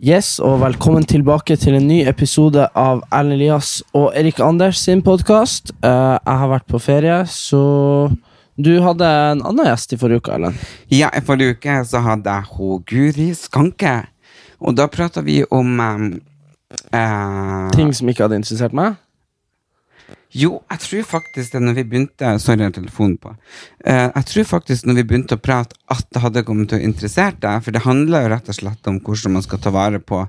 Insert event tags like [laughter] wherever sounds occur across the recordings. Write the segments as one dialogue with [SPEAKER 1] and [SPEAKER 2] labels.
[SPEAKER 1] Yes, og velkommen tilbake til en ny episode av Erlend Elias og Erik Anders sin podkast. jeg har vært på ferie, så du hadde en annen gjest i forrige uke, Erlend.
[SPEAKER 2] Ja, i forrige uke så hadde jeg hun Guri Skanke. Og da prata vi om em, eh,
[SPEAKER 1] Ting som ikke hadde interessert meg.
[SPEAKER 2] Jo, jeg tror faktisk det når vi begynte Sorry, jeg har telefonen på. Eh, jeg tror faktisk når vi begynte å prate at det hadde kommet til å interessere deg. For det handler jo rett og slett om hvordan man skal ta vare på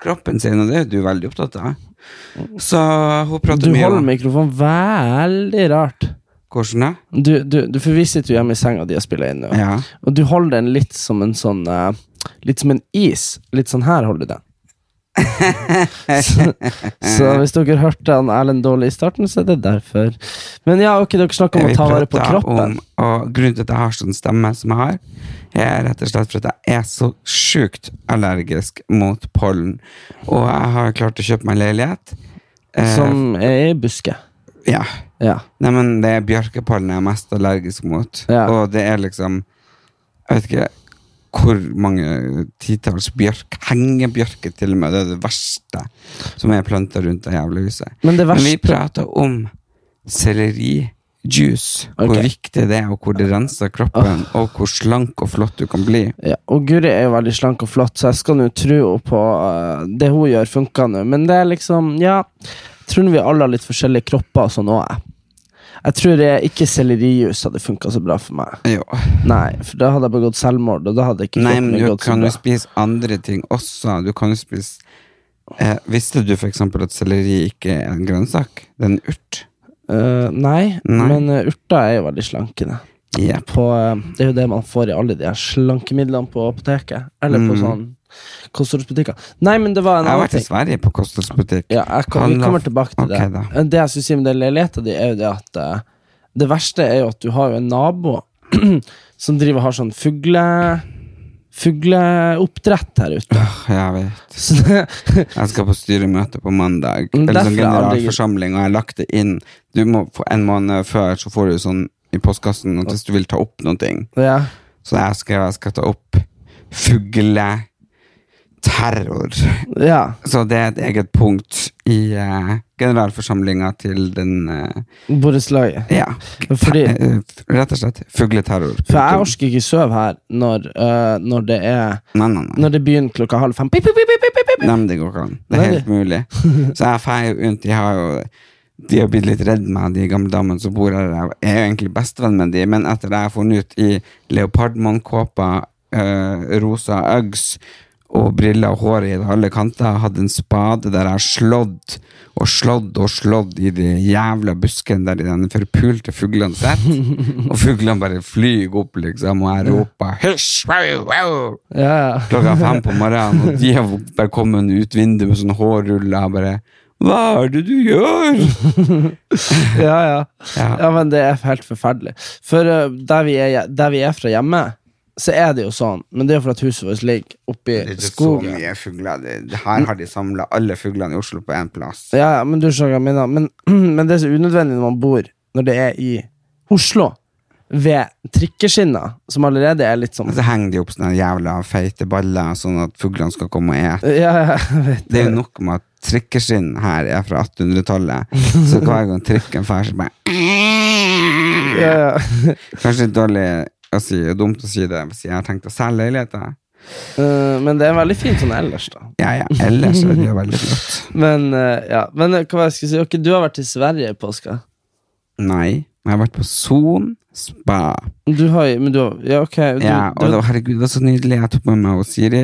[SPEAKER 2] kroppen sin, og det er jo du veldig opptatt av. Så hun
[SPEAKER 1] Mm. Du
[SPEAKER 2] prater mye
[SPEAKER 1] holder
[SPEAKER 2] om
[SPEAKER 1] mikrofonen veldig rart.
[SPEAKER 2] hvordan det
[SPEAKER 1] Du, du, du, for vi sitter jo hjemme i senga di og spiller inn nå.
[SPEAKER 2] Ja.
[SPEAKER 1] Og du holder den litt som en sånn eh, Litt som en is. Litt sånn her holder du
[SPEAKER 2] [laughs]
[SPEAKER 1] den. så, så hvis dere hørte han Erlend dårlig i starten, så er det derfor. Men ja, ok, dere snakker om å
[SPEAKER 2] Vi
[SPEAKER 1] ta vare på
[SPEAKER 2] prater
[SPEAKER 1] kroppen.
[SPEAKER 2] Om, og grunnen til at jeg har sånn stemme som jeg har, er rett og slett for at jeg er så sjukt allergisk mot pollen. Og jeg har klart å kjøpe meg leilighet. Eh,
[SPEAKER 1] Som er i buske.
[SPEAKER 2] Ja.
[SPEAKER 1] Ja.
[SPEAKER 2] Nei, men det er bjørkepollen jeg er mest allergisk mot.
[SPEAKER 1] Ja.
[SPEAKER 2] Og det er liksom Jeg vet ikke hvor mange titalls bjørk. Hengebjørke, til og med. Det er det verste som er planta rundt det jævla huset.
[SPEAKER 1] Men det
[SPEAKER 2] Men vi
[SPEAKER 1] verste
[SPEAKER 2] prater om sellerijuice.
[SPEAKER 1] Ok. Ah.
[SPEAKER 2] Hvor viktig det er, og hvor det renser kroppen, og hvor slank og flott du kan bli.
[SPEAKER 1] ja, Og Guri er jo veldig slank og flott, så jeg skal nå tro på eh, det hun gjør, funker nå. Men det er liksom Ja, jeg tror vi alle har litt forskjellige kropper og sånn òg, jeg. Jeg tror eh, ikke sellerijus hadde funka så bra for meg.
[SPEAKER 2] Jo.
[SPEAKER 1] Nei, for da hadde jeg begått selvmord, og da hadde ikke
[SPEAKER 2] Nei,
[SPEAKER 1] kroppen
[SPEAKER 2] men
[SPEAKER 1] min
[SPEAKER 2] du
[SPEAKER 1] gått så
[SPEAKER 2] kan jo
[SPEAKER 1] bra.
[SPEAKER 2] spise andre ting også. Du kan jo spise eh, Visste du f.eks. at selleri ikke er en grønnsak? Det er en urt.
[SPEAKER 1] Eh, nei,
[SPEAKER 2] Nei.
[SPEAKER 1] men eh, urter er jo veldig slankende.
[SPEAKER 2] Jepp.
[SPEAKER 1] På, eh, det er jo det man får i alle de her slankemidlene på apoteket. Eller på
[SPEAKER 2] Mm.
[SPEAKER 1] sånn kostholdsbutikker. Nei, men det var en
[SPEAKER 2] Jeg har
[SPEAKER 1] annen
[SPEAKER 2] vært i
[SPEAKER 1] ting.
[SPEAKER 2] Sverige på kostholdsbutikk.
[SPEAKER 1] Ja, jeg kom, vi
[SPEAKER 2] Handla-
[SPEAKER 1] kommer tilbake til
[SPEAKER 2] Ok,
[SPEAKER 1] det.
[SPEAKER 2] da.
[SPEAKER 1] Eh, Det jeg skulle si med den leiligheten din, er jo det at eh, det verste er jo at du har jo en nabo [clears throat] som driver og har sånn fugle... Fugleoppdrett her ute.
[SPEAKER 2] Åh, Jeg vet.
[SPEAKER 1] [laughs] Så det,
[SPEAKER 2] Jeg skal på styremøte på mandag.
[SPEAKER 1] Men
[SPEAKER 2] Eller sånn
[SPEAKER 1] derfor Mm, er aldri-
[SPEAKER 2] generalforsamling, og jeg har lagt det inn. Du må få En måned før så får du sånn i postkassen at hvis du vil ta opp noen ting.
[SPEAKER 1] ja.
[SPEAKER 2] Så jeg skrev jeg skal ta opp fugleterror.
[SPEAKER 1] ja.
[SPEAKER 2] Så det er et eget punkt i uh, generalforsamlinga til den eh,
[SPEAKER 1] Borettslaget.
[SPEAKER 2] Ja.
[SPEAKER 1] Fordi-
[SPEAKER 2] te- eh, f- rett og slett fugleterror.
[SPEAKER 1] For jeg orker ikke sove her når, eh, når det er
[SPEAKER 2] Nei, nei, nei.
[SPEAKER 1] Når det begynner klokka halv fem. Pip, pip, pip, pip, pip, pip.
[SPEAKER 2] Nei, men det går ikke an. Det
[SPEAKER 1] Nei,
[SPEAKER 2] er helt mulig. Så jeg feier jo rundt. De har jo de har blitt litt redd meg, de gamle damene som bor her. Jeg er jo egentlig bestevenn med de, men etter det jeg har funnet ut i leopardmannkåpa, øh, rosa Uggs og briller og hår i alle kanter, jeg hadde en spade der jeg har slått og slått og slått i de jævla busken der i den forpulte fuglene sitter, og fuglene bare flyr opp, liksom, og jeg roper hysj, wow, wow
[SPEAKER 1] Ja, ja.
[SPEAKER 2] klokka fem på morgenen, og de har bare kommet ut vinduet med sånn hårruller og bare Hva er det du gjør?
[SPEAKER 1] ja, ja.
[SPEAKER 2] Ja.
[SPEAKER 1] ja, men det er helt forferdelig. For eh, der, vi er, der vi er fra hjemme, så er det jo sånn. Men det er jo for at huset vårt ligger oppi
[SPEAKER 2] Det er ikke så
[SPEAKER 1] skogen.
[SPEAKER 2] mye fugler. Det, det her har de samla alle fuglene i Oslo på én plass.
[SPEAKER 1] Ja, ja, men du skjønner hva jeg mener. Men, [clears throat] men det er så unødvendig når man bor Når det er i Oslo, ved trikkeskinner, som allerede er litt sånn
[SPEAKER 2] Og så henger de opp sånne jævla feite baller, sånn at fuglene skal komme og ete.
[SPEAKER 1] ja, ja, jeg vet
[SPEAKER 2] Det er jo nok med at trikkeskinn her er fra 1800-tallet, så hver gang trikken drar, så bare
[SPEAKER 1] ja, ja. [laughs]
[SPEAKER 2] Kanskje litt dårlig å si, og dumt å si det, hvis jeg har tenkt å selge leiligheter.
[SPEAKER 1] Eh, Men det er veldig fint sånn ellers, da.
[SPEAKER 2] Ja, ja, ellers er det jo veldig flott.
[SPEAKER 1] Men, eh, ja. men eh, hva var det jeg skulle si? Ok, du har vært i Sverige i påska.
[SPEAKER 2] Nei, men jeg har vært på Son spa.
[SPEAKER 1] Du har jo Men du har Ja, ok. Du,
[SPEAKER 2] ja, og
[SPEAKER 1] du,
[SPEAKER 2] det var, herregud, det var så nydelig. Jeg tok med meg og Siri.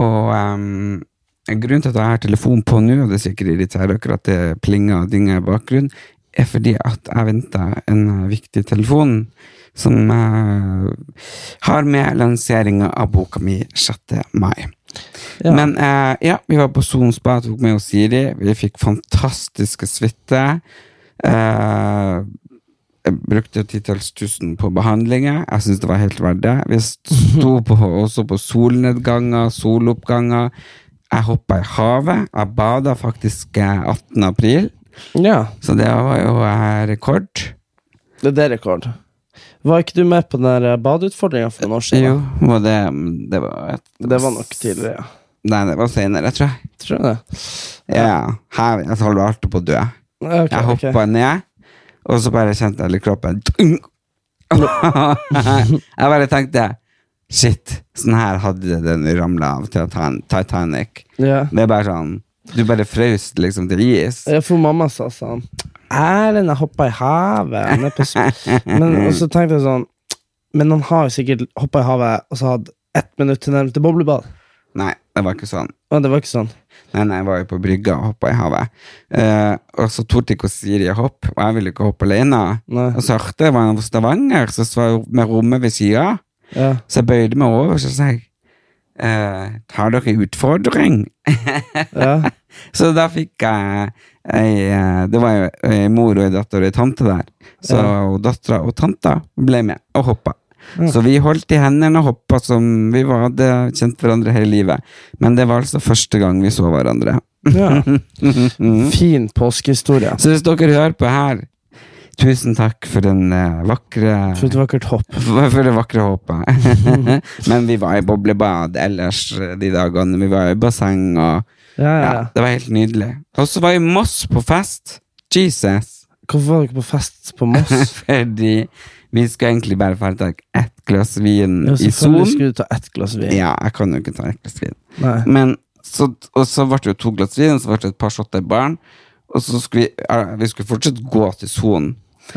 [SPEAKER 2] Og ehm, grunnen til at jeg har telefon på nå, og det sikkert irriterer dere at det plinger og dinger i bakgrunnen, er fordi at jeg venter en eh, viktig telefon som eh, har med lanseringa av boka mi 6. mai.
[SPEAKER 1] Ja.
[SPEAKER 2] Men eh, ja, vi var på Son spa, tok med oss Siri. Vi fikk fantastiske suite. Eh, jeg brukte titalls tusen på behandlinger. Jeg syns det var helt verdt det. Vi
[SPEAKER 1] [laughs]
[SPEAKER 2] sto på, også på solnedganger, soloppganger. Jeg hoppa i havet. Jeg bada faktisk eh, 18. april,
[SPEAKER 1] Ja,
[SPEAKER 2] så det var jo eh, rekord.
[SPEAKER 1] det er rekord. Var ikke du med på den der badeutfordringa for noen år siden?
[SPEAKER 2] Jo, og det, det var
[SPEAKER 1] Det var nok tidligere, ja.
[SPEAKER 2] Nei, det var senere, tror jeg.
[SPEAKER 1] Tror jeg det.
[SPEAKER 2] Ja, her jeg holdt på å dø.
[SPEAKER 1] Ok,
[SPEAKER 2] Jeg
[SPEAKER 1] ok.
[SPEAKER 2] hoppa ned, og så bare kjente jeg litt kroppen Dung! [laughs] Jeg bare tenkte Shit, sånn her hadde den ramla av Titan- Titanic.
[SPEAKER 1] Ja.
[SPEAKER 2] Det er bare sånn Du bare frøs liksom til is.
[SPEAKER 1] Ja, for mamma sa sånn Erlend, jeg hoppa i havet. ned på
[SPEAKER 2] [laughs]
[SPEAKER 1] sp-" Men, og så tenkte jeg sånn Men han har jo sikkert hoppa i havet og så hatt ett minutt til nærmeste boblebad.
[SPEAKER 2] Nei, det var ikke sånn.
[SPEAKER 1] Og det var ikke sånn.
[SPEAKER 2] Nei, nei, jeg var jo på brygga og hoppa i havet. Eh, og så torde ikke Siri å hoppe, og jeg ville ikke hoppe alene.
[SPEAKER 1] Nei.
[SPEAKER 2] Og så hørte jeg var fra Stavanger, så var hun med rommet ved sida.
[SPEAKER 1] Ja.
[SPEAKER 2] Så jeg bøyde meg over og så sa jeg, eh, har dere utfordring?
[SPEAKER 1] Ja.
[SPEAKER 2] Så da fikk jeg ei, eh, Det var jo ei mor og ei datter og ei tante der. Så ja. dattera og tanta ble med og hoppa. Så vi holdt i hendene og hoppa som vi var, hadde kjent hverandre hele livet. Men det var altså første gang vi så hverandre.
[SPEAKER 1] ja.
[SPEAKER 2] [laughs]
[SPEAKER 1] Fin påskehistorie.
[SPEAKER 2] Så hvis dere hører på her, tusen takk for den eh, vakre
[SPEAKER 1] For et vakkert hopp.
[SPEAKER 2] for [laughs] for det vakre håpet. [laughs] Men vi var i boblebad ellers eh, de dagene. Vi var i basseng og
[SPEAKER 1] Ja, ja.
[SPEAKER 2] ja, Det var helt nydelig. Og så var jeg i Moss på fest. Jesus.
[SPEAKER 1] Hvorfor var dere på fest på Moss?
[SPEAKER 2] [laughs] Fordi vi skulle egentlig bare få tak ett glass vin
[SPEAKER 1] Jo,
[SPEAKER 2] i Son.
[SPEAKER 1] selvfølgelig skulle du ta ett glass vin.
[SPEAKER 2] Ja, jeg kan jo ikke ta ett glass vin.
[SPEAKER 1] Nei.
[SPEAKER 2] Men så, og så ble det jo to glass vin, så ble det et par shotter barn. Og så skulle vi, eh, vi skulle fortsatt gå til Son.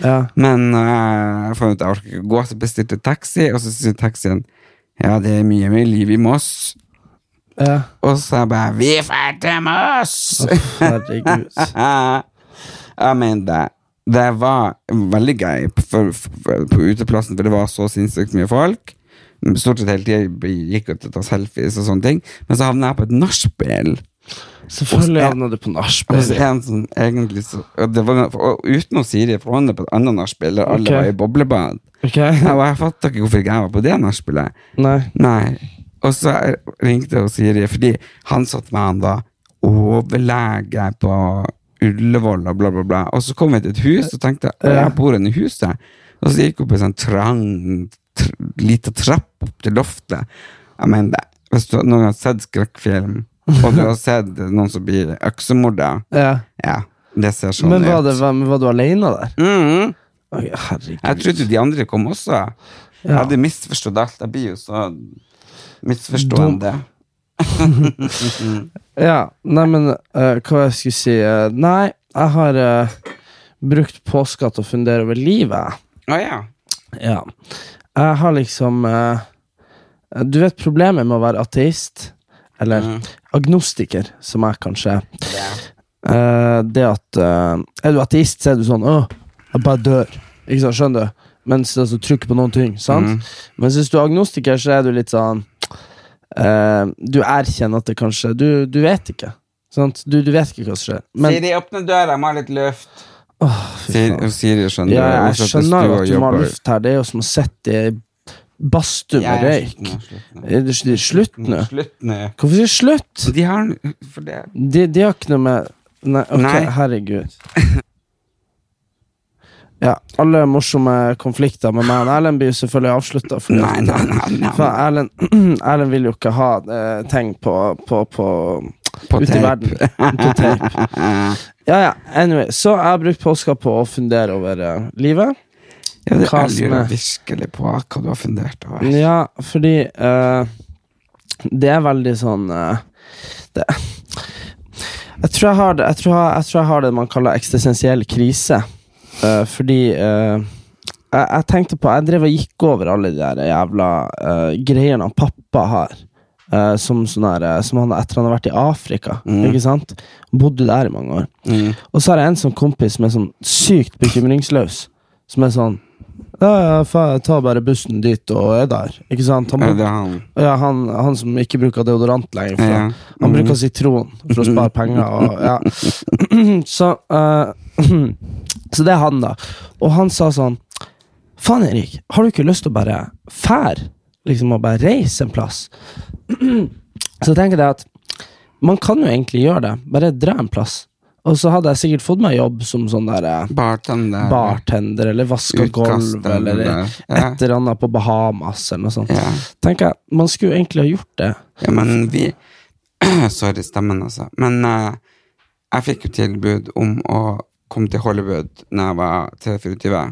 [SPEAKER 1] Ja.
[SPEAKER 2] Men eh, jeg fant ut at jeg orker ikke gå, så bestilte jeg taxi, og så sier taxien ja, det er mye mer liv i Moss.
[SPEAKER 1] ja.
[SPEAKER 2] Og så jeg bare Vi drar til Moss!
[SPEAKER 1] [laughs] Herregud.
[SPEAKER 2] jeg mener det. Det var veldig gøy på, på, på uteplassen, for det var så sinnssykt mye folk. Stort sett hele tida gikk jeg til å ta selfies og sånne ting. Men så havna jeg på et nachspiel.
[SPEAKER 1] Selvfølgelig havna du på nachspiel.
[SPEAKER 2] Hos en som egentlig så, og det var, og Uten å Siri, for han er på et annet nachspiel der alle
[SPEAKER 1] Ok.
[SPEAKER 2] var i boblebad.
[SPEAKER 1] Ok?
[SPEAKER 2] Ja, og jeg fatta ikke hvorfor ikke jeg var på det nachspielet.
[SPEAKER 1] [laughs] Nei.
[SPEAKER 2] Nei. Og så ringte jeg og Siri, fordi han satt med han da overlege på Ullevål og bla, bla, bla. Og så kom vi til et hus og tenkte jeg, jeg bor inne i huset. Og så gikk vi opp en sånn trang, tr lita trapp opp til loftet. Jeg mener, det. hvis du noen har sett skrekkfilm, og du har sett noen som blir øksemorda,
[SPEAKER 1] Ja.
[SPEAKER 2] ja, det ser sånn
[SPEAKER 1] Men var,
[SPEAKER 2] ut.
[SPEAKER 1] det, Mm. var, men var du aleine der?
[SPEAKER 2] Mhm.
[SPEAKER 1] Ok, herregud.
[SPEAKER 2] Jeg trodde de andre kom også. Jeg hadde misforstått alt. Jeg blir jo så misforstående.
[SPEAKER 1] Ja, nei, men eh, hva jeg skulle si eh, Nei, jeg har eh, brukt påska til å fundere over livet.
[SPEAKER 2] Å ja.
[SPEAKER 1] Ja. Jeg har liksom eh, Du vet problemet med å være ateist, eller agnostiker, som jeg kanskje Mm. er. Eh, det at eh, Er du ateist, så er du sånn Åh, jeg bare dør. Ikke sant, Skjønner du? Mens altså, trykker på noen ting. sant? Mens hvis du er agnostiker, så er du litt sånn eh, Du erkjenner at det kanskje Du, du vet ikke. Sant? Du, du vet ikke hva som skjer. Men,
[SPEAKER 2] Siri, åpne døra, jeg må ha litt luft. Siri, Siri skjønner
[SPEAKER 1] ja,
[SPEAKER 2] Hun
[SPEAKER 1] jeg
[SPEAKER 2] satt i
[SPEAKER 1] skjønner
[SPEAKER 2] stua
[SPEAKER 1] jo
[SPEAKER 2] og
[SPEAKER 1] at du må ha
[SPEAKER 2] jobber.
[SPEAKER 1] luft her. Det er jo som å sitte i ei badstue
[SPEAKER 2] Ja,
[SPEAKER 1] med
[SPEAKER 2] ja,
[SPEAKER 1] røyk.
[SPEAKER 2] slutt nå,
[SPEAKER 1] Er det ikke- Slutt
[SPEAKER 2] Slutt nå.
[SPEAKER 1] nå.
[SPEAKER 2] Slutt nå.
[SPEAKER 1] Hvorfor sier du slutt?
[SPEAKER 2] De har en- for det.
[SPEAKER 1] De, de har ikke noe med Nei, ok,
[SPEAKER 2] Nei.
[SPEAKER 1] herregud. Ja, alle morsomme konflikter med meg og Erlend blir jo selvfølgelig avslutta.
[SPEAKER 2] Nei, nei, nei.
[SPEAKER 1] For
[SPEAKER 2] nei.
[SPEAKER 1] Erlend, [clears throat] Erlend vil jo ikke ha eh, ting på, på, på,
[SPEAKER 2] På
[SPEAKER 1] ute
[SPEAKER 2] tape.
[SPEAKER 1] i verden. På
[SPEAKER 2] [laughs]
[SPEAKER 1] tape. Ja, ja. Anyway, så jeg har brukt påska på å fundere over eh, livet.
[SPEAKER 2] Ja, det
[SPEAKER 1] Hva
[SPEAKER 2] jeg
[SPEAKER 1] som
[SPEAKER 2] lurer
[SPEAKER 1] er-
[SPEAKER 2] virkelig på hva du har fundert over.
[SPEAKER 1] Ja, fordi eh, Det er veldig sånn eh, det, jeg, tror jeg, har det, jeg, tror jeg, jeg tror jeg har det man kaller eksistensiell krise. Eh, fordi eh, jeg, jeg tenkte på Jeg drev og gikk over alle de der jævla eh, greiene han pappa har. eh, som, sånn her, eh, som han etter han har vært i Afrika.
[SPEAKER 2] Mm.
[SPEAKER 1] Ikke sant? Bodde der i mange år. Og så har jeg en sånn kompis som er sånn sykt bekymringsløs. Som er sånn Ja, ja, fa- jeg tar bare bussen dit og er der. Ikke sant? Han,
[SPEAKER 2] Ja,
[SPEAKER 1] bruk-
[SPEAKER 2] det er han.
[SPEAKER 1] ja, han, han som ikke bruker deodorant lenger. For
[SPEAKER 2] Ja.
[SPEAKER 1] Han bruker sitron for å spare penger. Og, ja. [clears throat] så, eh, [clears throat] så det er han, da. Og han sa sånn Faen, Erik, har du ikke lyst til å bare fær? Liksom å bare reise en plass? [clears throat] så tenker jeg at man kan jo egentlig gjøre det. Bare dra en plass. Og så hadde jeg sikkert fått meg jobb som sånn der eh,
[SPEAKER 2] Bartender.
[SPEAKER 1] bartender eller vaska
[SPEAKER 2] Utkast,
[SPEAKER 1] gulv eller
[SPEAKER 2] eller-
[SPEAKER 1] et
[SPEAKER 2] ja.
[SPEAKER 1] eller annet på Bahamas eller noe sånt.
[SPEAKER 2] Ja.
[SPEAKER 1] Tenker jeg, Man skulle jo egentlig ha gjort det.
[SPEAKER 2] Ja, men vi [clears throat] Sorry, stemmen, altså. Men eh, jeg fikk jo tilbud om å komme til Hollywood når jeg var 23,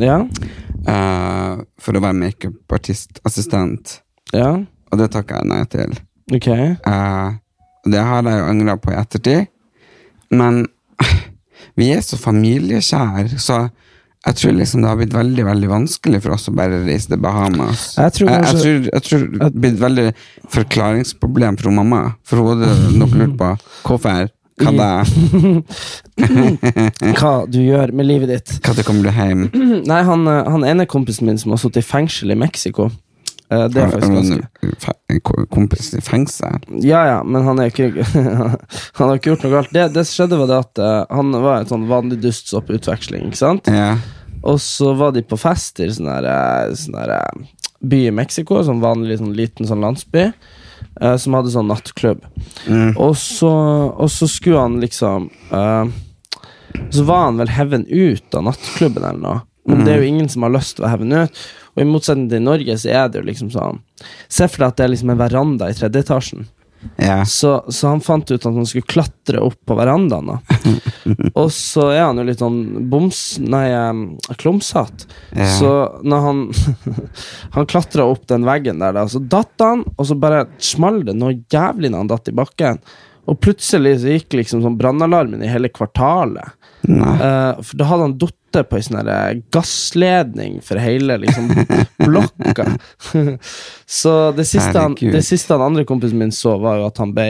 [SPEAKER 1] Ja,
[SPEAKER 2] eh, for å være makeupartistassistent.
[SPEAKER 1] ja,
[SPEAKER 2] Og det takka jeg nei til.
[SPEAKER 1] ok.
[SPEAKER 2] Eh, det har jeg jo angra på i ettertid. Men [laughs] vi er så familiekjære, så jeg tror liksom det har blitt veldig veldig vanskelig for oss å bare reise til Bahamas. Eh,
[SPEAKER 1] Jeg tror
[SPEAKER 2] jeg,
[SPEAKER 1] kanskje-
[SPEAKER 2] tror, jeg tror det har blitt veldig forklaringsproblem for hun mamma. For hun hadde nok lurt på hvorfor hva det,
[SPEAKER 1] Hva du gjør med livet ditt. [clears throat]
[SPEAKER 2] hva det kommer du hjem.
[SPEAKER 1] Nei, han, eh, han ene kompisen min som har sittet i fengsel i Mexico eh, Det er faktisk ganske
[SPEAKER 2] En ko- kompis i fengsel.
[SPEAKER 1] Ja, ja, men han er ikke [laughs] Han har ikke gjort noe galt. Det, det som skjedde, var det at eh, han var et sånn vanlig dustsopp utveksling, ikke sant?
[SPEAKER 2] Ja.
[SPEAKER 1] Og så var de på fest i sånn der, eh, sånn der eh, by i Mexico, sånn vanlig sånn liten sånn landsby, eh, som hadde sånn nattklubb. Og, så, og så skulle han liksom eh, Så var han vel heven ut av nattklubben eller noe. Men det er jo ingen som har lyst til å heve den ut. Og i motsetning til i Norge, så er det jo liksom sånn Se for deg at det er liksom en veranda i tredje etasjen.
[SPEAKER 2] ja.
[SPEAKER 1] Så, så han fant ut at han skulle klatre opp på verandaen.
[SPEAKER 2] [laughs]
[SPEAKER 1] Da. Og så er han jo litt sånn boms... Nei, em, klumsete.
[SPEAKER 2] Ja.
[SPEAKER 1] Så når han [laughs] Han klatra opp den veggen der, da, så datt han, og så bare small det noe jævlig når han datt i bakken. Og plutselig så gikk liksom sånn brannalarmen i hele kvartalet.
[SPEAKER 2] Nei.
[SPEAKER 1] Eh, for da hadde han datt på ei sånn her gassledning for hele liksom,
[SPEAKER 2] [laughs]
[SPEAKER 1] blokka. [laughs] så det siste, han,
[SPEAKER 2] Herregud.
[SPEAKER 1] det siste han andre kompisen min så, var jo at han ble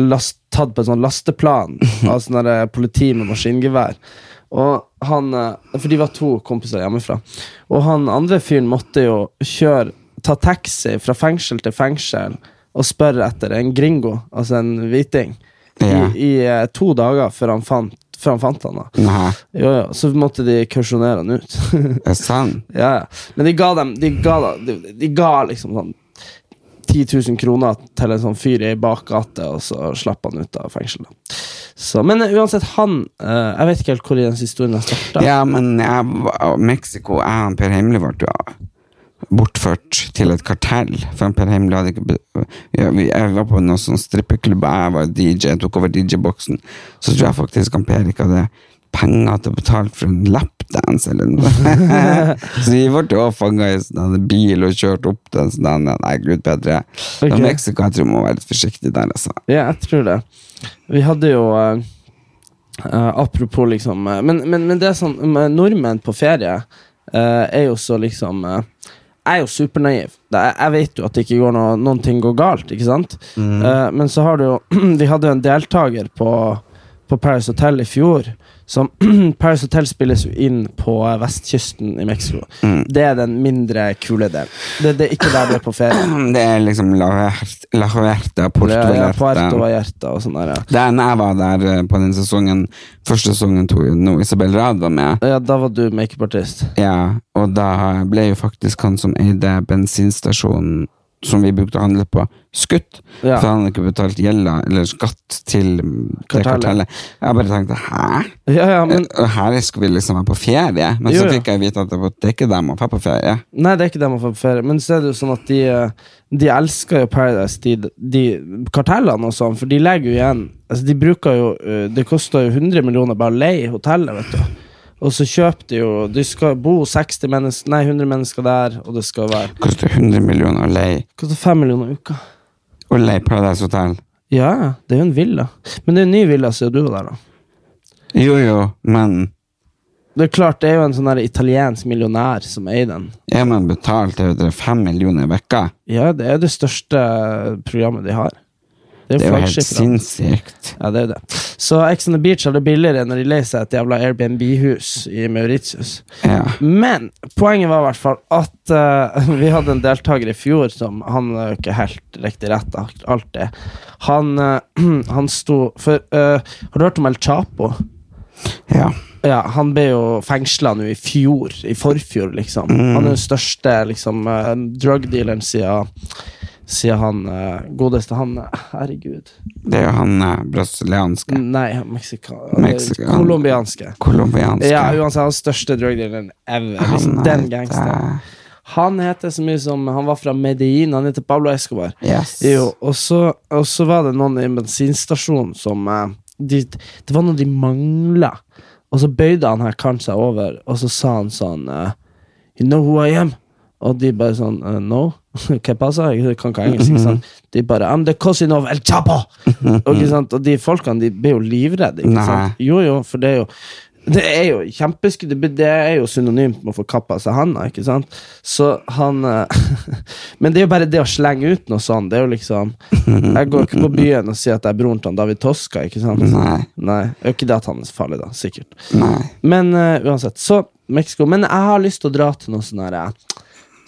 [SPEAKER 1] last, tatt på en sånn lasteplan av sånn her politi med maskingevær. Og han, eh, for de var to kompiser hjemmefra. Og han andre fyren måtte jo kjøre, ta taxi fra fengsel til fengsel og spørre etter en gringo, altså en hviting,
[SPEAKER 2] Ja.
[SPEAKER 1] i, i eh, to dager før han fant, før han, fant han da.
[SPEAKER 2] Nei.
[SPEAKER 1] Jo, ja, så måtte de kausjonere han ut.
[SPEAKER 2] Er
[SPEAKER 1] [laughs]
[SPEAKER 2] det sant?
[SPEAKER 1] ja, ja. Men de ga dem De ga, da- de, de ga liksom sånn 10 000 kroner til en sånn fyr i ei bakgate, og så slapp han ut av fengselet. Så, men eh, uansett, han eh, Jeg vet ikke helt hvor i den historien jeg starta.
[SPEAKER 2] Ja, men jeg, var- Mexico, jeg og Per Heimly ble jo bortført til et kartell. For Per Heimly hadde ikke be- ja, vi- Jeg var på noen sånn strippeklubb, jeg var DJ, jeg tok over DJ-boksen. Så tror jeg faktisk han Per ikke hadde penger til å betale for en lapdance eller noe. [laughs] så vi ble jo fanga i sånn en bil og kjørt opp til en sånn en- Nei, gud bedre. Men
[SPEAKER 1] Ok.
[SPEAKER 2] Mexico, jeg tror man må være litt forsiktig der, altså.
[SPEAKER 1] Ja, jeg tror det. Vi hadde jo eh, eh, Apropos liksom eh, men, men, men det er sånn med Nordmenn på ferie eh, er jo så liksom eh, Jeg er jo supernaiv. Det, jeg, jeg vet jo at det ikke går noe, noen ting går galt, ikke sant?
[SPEAKER 2] Mm.
[SPEAKER 1] Eh, men så har du jo [clears throat] Vi hadde jo en deltaker på, på Paris Hotel i fjor. Som [clears throat] Paris Hotel spilles jo inn på eh, vestkysten i Mexico.
[SPEAKER 2] Mm.
[SPEAKER 1] Det er den mindre kule delen. Det, det er ikke der du er på ferie.
[SPEAKER 2] Det er liksom La Huerta- La Huerta, Porto
[SPEAKER 1] Ja, ja,
[SPEAKER 2] Vallarta.
[SPEAKER 1] Puerto Vallarta og sånn der, ja.
[SPEAKER 2] Da jeg var der eh, på den sesongen Første sesongen tok jo nå Isabel Rad var med
[SPEAKER 1] Ja, da var du makeupartist.
[SPEAKER 2] Ja, og da ble jo faktisk han som eide bensinstasjonen Som vi brukte å handle på Skutt
[SPEAKER 1] Ja.
[SPEAKER 2] For han hadde ikke betalt gjelda Eller skatt til det
[SPEAKER 1] Kartellet.
[SPEAKER 2] kartellet Jeg bare tenkte, hæ?
[SPEAKER 1] Ja, ja, men
[SPEAKER 2] Og her skal vi liksom være på ferie Men
[SPEAKER 1] Jo,
[SPEAKER 2] så
[SPEAKER 1] ja.
[SPEAKER 2] fikk jeg vite at det var- det er ikke dem å være på ferie
[SPEAKER 1] Nei, det er ikke det man får på ferie. Men så er det jo sånn at de, eh, de elsker jo Paradise, de, de kartellene og sånn, for de legger jo igjen Altså, de bruker jo eh, Det koster jo 100 millioner bare å leie hotellet, vet du. Og så kjøper de jo De skal bo 60 mennesker Nei, 100 mennesker der, og det skal være
[SPEAKER 2] Koster 100 millioner å leie
[SPEAKER 1] Koster 5 millioner i uka.
[SPEAKER 2] Å leie Paradise Hotel
[SPEAKER 1] Ja, ja, det er jo en villa. Men det er en ny villa siden du var der, da.
[SPEAKER 2] Jo jo, men
[SPEAKER 1] Det er klart, det er jo en sånn der italiensk millionær som eier den.
[SPEAKER 2] Er man betalt til 5 millioner i vekka?
[SPEAKER 1] Ja, det er det største programmet de har. Det er
[SPEAKER 2] Det
[SPEAKER 1] jo
[SPEAKER 2] er jo helt
[SPEAKER 1] flaggskipet. da.
[SPEAKER 2] sinnssykt
[SPEAKER 1] Ja, det er jo det. Så Ex on the Beach har det billigere når de leier seg et jævla Airbnb-hus i Mauritius.
[SPEAKER 2] Ja.
[SPEAKER 1] Men poenget var i hvert fall at eh, [laughs] vi hadde en deltaker i fjor som Han er jo ikke helt riktig rett, alt- alt det. Han, eh, [clears throat] han sto For eh, har du hørt om El Chapo?
[SPEAKER 2] ja.
[SPEAKER 1] Ja, Han ble jo fengsla nå i fjor. I forfjor, liksom.
[SPEAKER 2] Mm.
[SPEAKER 1] Han er den største liksom, eh, drugdealeren siden, siden han eh, godeste han eh, Herregud.
[SPEAKER 2] Det er jo han eh, brasilianske.
[SPEAKER 1] Nei, meksika-
[SPEAKER 2] Meksikan-
[SPEAKER 1] eller Colombianske.
[SPEAKER 2] Colombianske.
[SPEAKER 1] Ja, uansett, han største drugdealeren ever.
[SPEAKER 2] Han
[SPEAKER 1] Liksom,
[SPEAKER 2] eh,
[SPEAKER 1] den
[SPEAKER 2] heter-
[SPEAKER 1] gangsteren. Han heter så mye som Han var fra Medellin. Han heter Pablo Escobar.
[SPEAKER 2] Yes.
[SPEAKER 1] Jo, og så, og så var det noen i en bensinstasjon som eh, de, Det var noe de mangla. Og så bøyde han her karen seg over, og så sa han sånn eh, You know who I am? Og de bare sånn eh, No? [laughs] Hva passa? Jeg kan
[SPEAKER 2] [laughs]
[SPEAKER 1] ikke engelsk. ikke sant? De bare I'm the cousin of El Chapo! og, ikke sant? og de folkene de ble jo livredde. ikke
[SPEAKER 2] Nei.
[SPEAKER 1] sant? Jo, jo, for det er jo det er jo kjempeskudd, det- det er jo synonymt med å få kappa seg handa, ikke sant? Så han eh, [laughs] Men det er jo bare det å slenge ut noe sånt, det er jo liksom Jeg går ikke på byen og sier at jeg er broren til han David Toska, ikke sant?
[SPEAKER 2] Nei.
[SPEAKER 1] Nei, det er jo ikke det at han er så farlig, da, sikkert.
[SPEAKER 2] Nei.
[SPEAKER 1] Men eh, uansett, så Mexico. Men jeg har lyst til å dra til noe sånn her eh,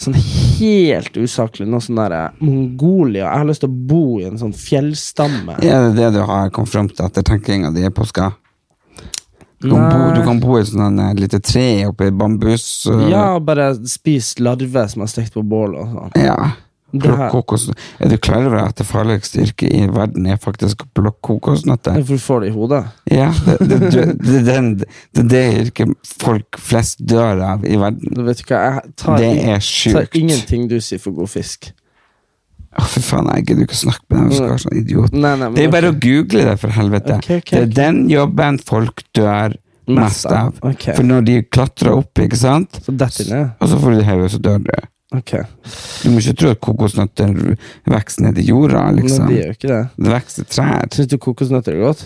[SPEAKER 1] Sånn helt usaklig, noe sånn her eh, Mongolia. Jeg har lyst til å bo i en sånn fjellstamme.
[SPEAKER 2] Er det det du har kommet fram til etter tenkinga di i påska? Du kan, bo, du kan bo i sånn en, eh, lite tre oppi bambus. eh,
[SPEAKER 1] Ja, og bare spise larver som er stekt på bål og sånn.
[SPEAKER 2] ja.
[SPEAKER 1] Det
[SPEAKER 2] Plukk
[SPEAKER 1] her-
[SPEAKER 2] kokos. Er du klar over at det farligste yrket i verden er faktisk å plukke kokosnøtter?
[SPEAKER 1] For du får det i hodet.
[SPEAKER 2] Ja, det, det, det, det, den- det er det yrket folk flest dør av i verden.
[SPEAKER 1] Du vet ikke hva, jeg tar,
[SPEAKER 2] Det er
[SPEAKER 1] tar
[SPEAKER 2] sjukt.
[SPEAKER 1] ingenting du sier for god fisk.
[SPEAKER 2] Å, fy faen, jeg gidder ikke å snakke med dem. Jeg skal være sånn idiot.
[SPEAKER 1] Nei, nei, men
[SPEAKER 2] Det er bare å google det, for helvete.
[SPEAKER 1] Mm. Ok, ok,
[SPEAKER 2] Det er
[SPEAKER 1] ok.
[SPEAKER 2] den jobben folk dør mest
[SPEAKER 1] Mest av.
[SPEAKER 2] av.
[SPEAKER 1] Ok.
[SPEAKER 2] For når de klatrer opp, ikke sant,
[SPEAKER 1] Så detter den ned.
[SPEAKER 2] og så får de hodet, så dør de.
[SPEAKER 1] Ok.
[SPEAKER 2] Du må ikke tro at kokosnøtter vokser ned i jorda,
[SPEAKER 1] Men
[SPEAKER 2] liksom.
[SPEAKER 1] de gjør jo ikke det.
[SPEAKER 2] Det vokser i trær.
[SPEAKER 1] Syns du kokosnøtter er godt?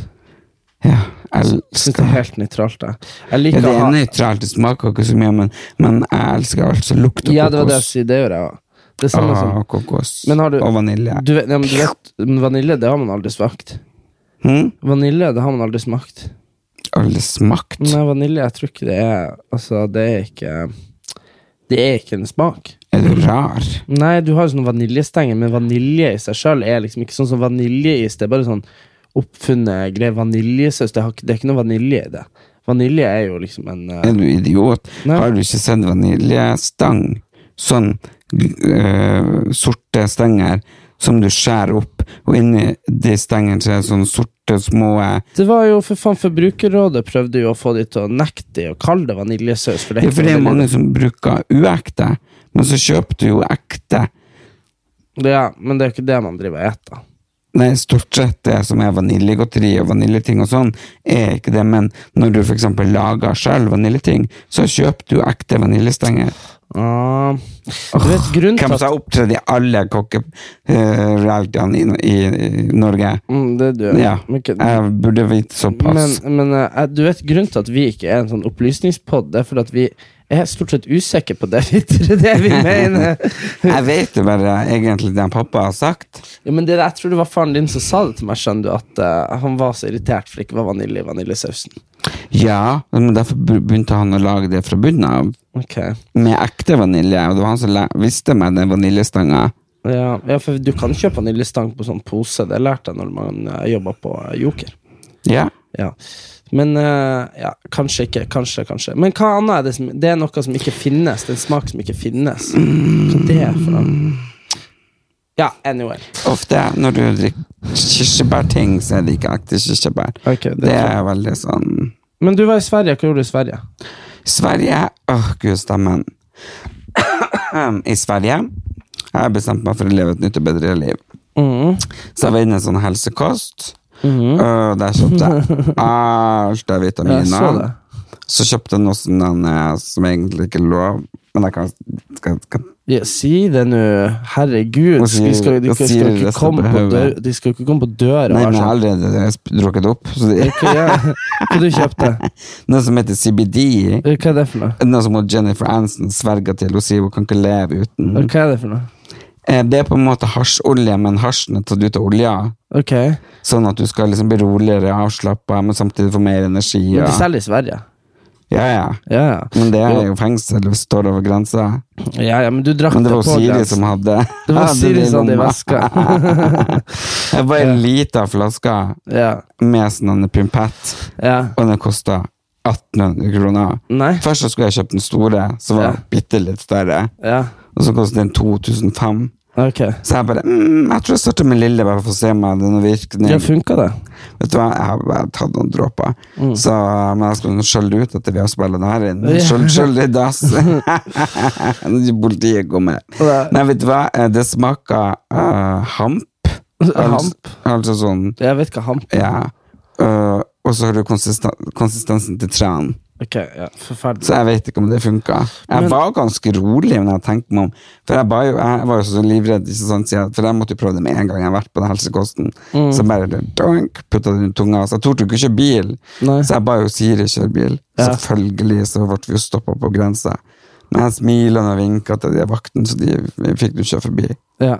[SPEAKER 2] Ja, jeg
[SPEAKER 1] Syns det
[SPEAKER 2] elsker
[SPEAKER 1] er helt nøytralt, jeg. Jeg
[SPEAKER 2] ja,
[SPEAKER 1] liker
[SPEAKER 2] det
[SPEAKER 1] å
[SPEAKER 2] er
[SPEAKER 1] ha
[SPEAKER 2] nøytralt, det smaker ikke så mye, men, men jeg elsker altså lukt av
[SPEAKER 1] Ja, det var det jeg
[SPEAKER 2] kokos.
[SPEAKER 1] sier. Det gjør jeg òg. Det er samme
[SPEAKER 2] Ah,
[SPEAKER 1] som
[SPEAKER 2] kokos.
[SPEAKER 1] Men har du-
[SPEAKER 2] Og vanilje.
[SPEAKER 1] du vet, ja, men du vet, men Vanilje, det har man aldri smakt.
[SPEAKER 2] Hm?
[SPEAKER 1] Vanilje, det har man aldri smakt.
[SPEAKER 2] Aldri smakt.
[SPEAKER 1] Nei, vanilje, jeg tror ikke det er Altså, det er ikke Det er ikke en smak.
[SPEAKER 2] Er du rar?
[SPEAKER 1] Nei, du har jo sånne vaniljestenger, men vanilje i seg sjøl er liksom ikke sånn som vaniljeis. Det er bare sånn oppfunnet greie. Vaniljesaus, det, har ikke- det er ikke noe vanilje i det. Vanilje er jo liksom en eh,
[SPEAKER 2] Er du idiot?
[SPEAKER 1] Nei.
[SPEAKER 2] Har du ikke sett vaniljestang? Sånn øh, sorte stenger som du skjærer opp, og inni de stengene så er det sånne sorte små
[SPEAKER 1] Det var jo for faen Forbrukerrådet prøvde jo å få de til å nekte de å kalle det vaniljesaus. For det
[SPEAKER 2] Ja,
[SPEAKER 1] er
[SPEAKER 2] for
[SPEAKER 1] ikke
[SPEAKER 2] det er
[SPEAKER 1] vanilje.
[SPEAKER 2] mange som bruker uekte, men så kjøper du jo ekte.
[SPEAKER 1] Ja, men det er jo ikke det man driver og eter.
[SPEAKER 2] Nei, stort sett det som er vaniljegodteri og vaniljeting og sånn, er ikke det, men når du for eksempel lager selv vaniljeting, så kjøper du ekte vaniljestenger.
[SPEAKER 1] Ah, du vet grunnen til
[SPEAKER 2] Hvem
[SPEAKER 1] at
[SPEAKER 2] som opptredde i alle kokke-realityene i, i Norge?
[SPEAKER 1] mm, Det er du.
[SPEAKER 2] Ja, Eh,
[SPEAKER 1] Men ikke-
[SPEAKER 2] jeg burde vite såpass.
[SPEAKER 1] Men, men eh, du vet grunnen til at vi ikke er en sånn opplysningspod, det er fordi at vi er stort sett usikre på det vi, [laughs] det vi mener.
[SPEAKER 2] jeg vet jo bare egentlig det pappa har sagt.
[SPEAKER 1] Ja, men det, jeg tror det var faren din som sa det til meg, skjønner du, at eh, han var så irritert for det ikke var vanilje i vaniljesausen.
[SPEAKER 2] Ja, men derfor be- begynte han å lage det fra bunnen av.
[SPEAKER 1] Ok.
[SPEAKER 2] Med ekte vanilje, og det var han som læ- visste meg den vaniljestanga.
[SPEAKER 1] Ja, ja, for du kan kjøpe vaniljestang på sånn pose, det lærte jeg når man uh, jobba på eh, Joker.
[SPEAKER 2] Ja.
[SPEAKER 1] Ja. Men eh, ja, kanskje ikke. Kanskje, kanskje. Men hva annet er det som Det er noe som ikke finnes. Det er en smak som ikke finnes. Hva det er for noe? Ja, anyway.
[SPEAKER 2] Ofte når du drikker kirsebærting, så er det ikke ekte kirsebær.
[SPEAKER 1] Ok, det
[SPEAKER 2] det, er veldig sånn
[SPEAKER 1] Men du var i Sverige. Hva gjorde du i Sverige?
[SPEAKER 2] Sverige Åh, gud, stemmen. I Sverige har jeg bestemt meg for å leve et nytt og bedre liv.
[SPEAKER 1] Mm.
[SPEAKER 2] Så jeg var inne i en sånn helsekost. Og der kjøpte jeg alt av
[SPEAKER 1] [laughs] Ja, jeg så det.
[SPEAKER 2] vitaminer. Så kjøpte jeg noe sånn den, eh, som egentlig ikke er lov, men jeg kan, skal, skal
[SPEAKER 1] Ja, si det nå. Herregud.
[SPEAKER 2] Hva sier-
[SPEAKER 1] vi skal, de,
[SPEAKER 2] hva
[SPEAKER 1] skal,
[SPEAKER 2] sier
[SPEAKER 1] ikke
[SPEAKER 2] resten
[SPEAKER 1] komme
[SPEAKER 2] på
[SPEAKER 1] på dør,
[SPEAKER 2] hodet?
[SPEAKER 1] de skal jo ikke komme på døra.
[SPEAKER 2] Nei, men jeg
[SPEAKER 1] og være
[SPEAKER 2] har
[SPEAKER 1] sånn,
[SPEAKER 2] allerede jeg har drukket det opp. Så det,
[SPEAKER 1] Hva gjør- hva du kjøpte
[SPEAKER 2] noe som heter CBD.
[SPEAKER 1] Hva er det for noe?
[SPEAKER 2] Noe som hun Jennifer Aniston sverger til. Hun sier hun kan ikke leve uten.
[SPEAKER 1] Hva er det for noe?
[SPEAKER 2] Eh, Det er på en måte hasjolje, men hasjen er tatt ut av olja.
[SPEAKER 1] Ok.
[SPEAKER 2] Sånn at du skal liksom bli roligere, avslappa, men samtidig få mer energi.
[SPEAKER 1] Men
[SPEAKER 2] Og...
[SPEAKER 1] de selger i Sverige.
[SPEAKER 2] Ja, ja.
[SPEAKER 1] Ja, ja.
[SPEAKER 2] Men det er jo fengsel, det står over grensa.
[SPEAKER 1] ja, ja men du drakk
[SPEAKER 2] Men det
[SPEAKER 1] deg
[SPEAKER 2] var
[SPEAKER 1] på
[SPEAKER 2] Siri
[SPEAKER 1] glass.
[SPEAKER 2] som hadde
[SPEAKER 1] Det var
[SPEAKER 2] [laughs] hadde
[SPEAKER 1] Siri
[SPEAKER 2] det i
[SPEAKER 1] som hadde i
[SPEAKER 2] lomma. [laughs]
[SPEAKER 1] veska.
[SPEAKER 2] Det var en liten flaske
[SPEAKER 1] Ja.
[SPEAKER 2] med sånn en pimpett,
[SPEAKER 1] ja.
[SPEAKER 2] og den kosta 1800 kroner.
[SPEAKER 1] Nei.
[SPEAKER 2] Først så skulle jeg kjøpt den store, som var
[SPEAKER 1] Mm. Ja.
[SPEAKER 2] bitte litt større.
[SPEAKER 1] Ja.
[SPEAKER 2] Og så kostet den 2005.
[SPEAKER 1] Ok.
[SPEAKER 2] Så jeg bare mm, Jeg tror jeg starter med lille, bare for å se om jeg hadde noen virkning.
[SPEAKER 1] Ja, funka det?
[SPEAKER 2] Vet du hva, jeg har bare tatt noen dråper. Så, men jeg skal skjølle ut etter vi har spilt den her inn.
[SPEAKER 1] Mm. Ja.
[SPEAKER 2] Skjøll, skjøll i
[SPEAKER 1] [laughs]
[SPEAKER 2] dass! [laughs] Politiet kommer.
[SPEAKER 1] Nei.
[SPEAKER 2] Nei, vet du hva, Eh, det smaker eh, hamp. Altså,
[SPEAKER 1] Hamp?
[SPEAKER 2] altså sånn,
[SPEAKER 1] Jeg vet hva hamp
[SPEAKER 2] ja. Eh, og så har du konsisten konsistensen til tran.
[SPEAKER 1] Ok, ja. Forferdelig.
[SPEAKER 2] Så jeg vet ikke om det funka. Jeg
[SPEAKER 1] Men-
[SPEAKER 2] var ganske rolig når jeg tenkte meg om. For jeg, ba jo, jeg var jo så livredd, ikke sant? sier jeg, for jeg måtte jo prøve det med en gang jeg har vært på den helsekosten.
[SPEAKER 1] Mm.
[SPEAKER 2] Så bare donk, putta den i tunga. Så jeg torde jo ikke kjøre bil.
[SPEAKER 1] Nei.
[SPEAKER 2] Så jeg ba jo Siri kjøre bil.
[SPEAKER 1] Ja.
[SPEAKER 2] Selvfølgelig så ble vi jo stoppa på grensa. Men jeg smilte og vinka til de vaktene, så de vi fikk jo kjøre forbi.
[SPEAKER 1] Ja.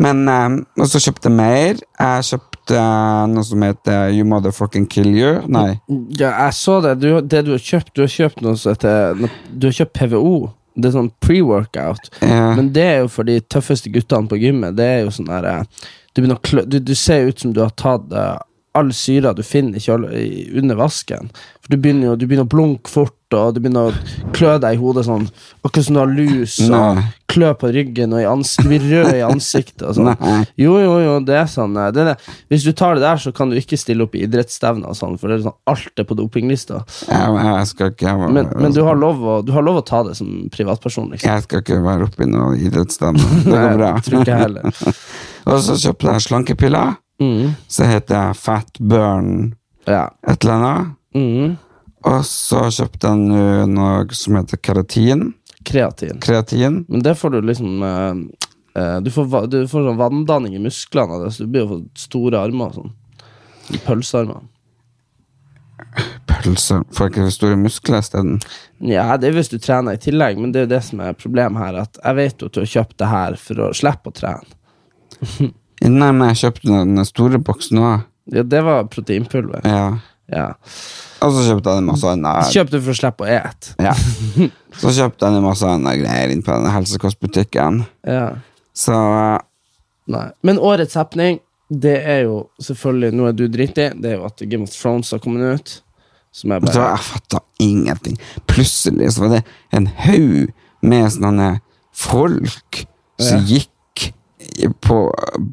[SPEAKER 2] Men, eh, Og så kjøpte jeg mer. Jeg kjøpte eh, noe som heter You Motherfucking Kill You. Nei.
[SPEAKER 1] ja, jeg så det. Du, det du har kjøpt, du har kjøpt noe som heter Du har kjøpt PVO. Det er sånn pre-workout.
[SPEAKER 2] eh,
[SPEAKER 1] Men det er jo for de tøffeste guttene på gymmet. Det er jo sånn der eh, du, begynner å klø, du, du ser ut som du har tatt eh, all syra du finner i kjøle, i, under vasken. For du begynner, jo, du begynner å blunke fort, og du begynner å klø deg i hodet sånn. Akkurat som du har lus, og
[SPEAKER 2] Nei.
[SPEAKER 1] klø på ryggen, og i ans du blir rød i ansiktet. Og
[SPEAKER 2] [laughs] Nei.
[SPEAKER 1] sånn. Jo, jo, jo, det er sånn. eh, Det er det. Hvis du tar det der, så kan du ikke stille opp i idrettsstevner og sånn, for det er sånn, alt er på dopinglista.
[SPEAKER 2] jeg, jeg skal ikke jeg,
[SPEAKER 1] Men, men du, har lov å, du har lov å ta det som privatperson, liksom.
[SPEAKER 2] Jeg skal ikke være oppi noe
[SPEAKER 1] [laughs]
[SPEAKER 2] idrettsstemme. Det går bra.
[SPEAKER 1] Nei, tror ikke jeg heller.
[SPEAKER 2] [laughs] og så kjøpte jeg slankepiller.
[SPEAKER 1] Mm.
[SPEAKER 2] Så heter jeg Fat Burn
[SPEAKER 1] Ja.
[SPEAKER 2] et eller annet.
[SPEAKER 1] Mm.
[SPEAKER 2] Og så kjøpte jeg nå noe som heter keratin.
[SPEAKER 1] Kreatin.
[SPEAKER 2] Kreatin.
[SPEAKER 1] Men det får du liksom eh, eh, du, får, va- du får sånn vanndanning i musklene av det, så du blir jo for store armer og sånn. Pølsearmer.
[SPEAKER 2] Pølser. Får jeg ikke store muskler isteden.
[SPEAKER 1] Ja, det er hvis du trener i tillegg, men det er jo det som er problemet her. At jeg vet jo at du har kjøpt det her for å slippe å trene.
[SPEAKER 2] Nei, men jeg kjøpte den store boksen òg.
[SPEAKER 1] Ja, det var proteinpulver.
[SPEAKER 2] Ja.
[SPEAKER 1] Ja.
[SPEAKER 2] Og så kjøpte jeg en masse annet.
[SPEAKER 1] Kjøpte for å slippe å ete. [laughs]
[SPEAKER 2] Ja. Så kjøpte jeg en masse annet greier inn på den helsekostbutikken.
[SPEAKER 1] Ja.
[SPEAKER 2] Så
[SPEAKER 1] Nei. Men årets happening, det er jo selvfølgelig noe du driter i. Det er jo at Game of Thrones har kommet ut. Som er
[SPEAKER 2] Vet du hva,
[SPEAKER 1] bare
[SPEAKER 2] jeg fatta ingenting. Plutselig så var det en haug med sånne folk som gikk i- på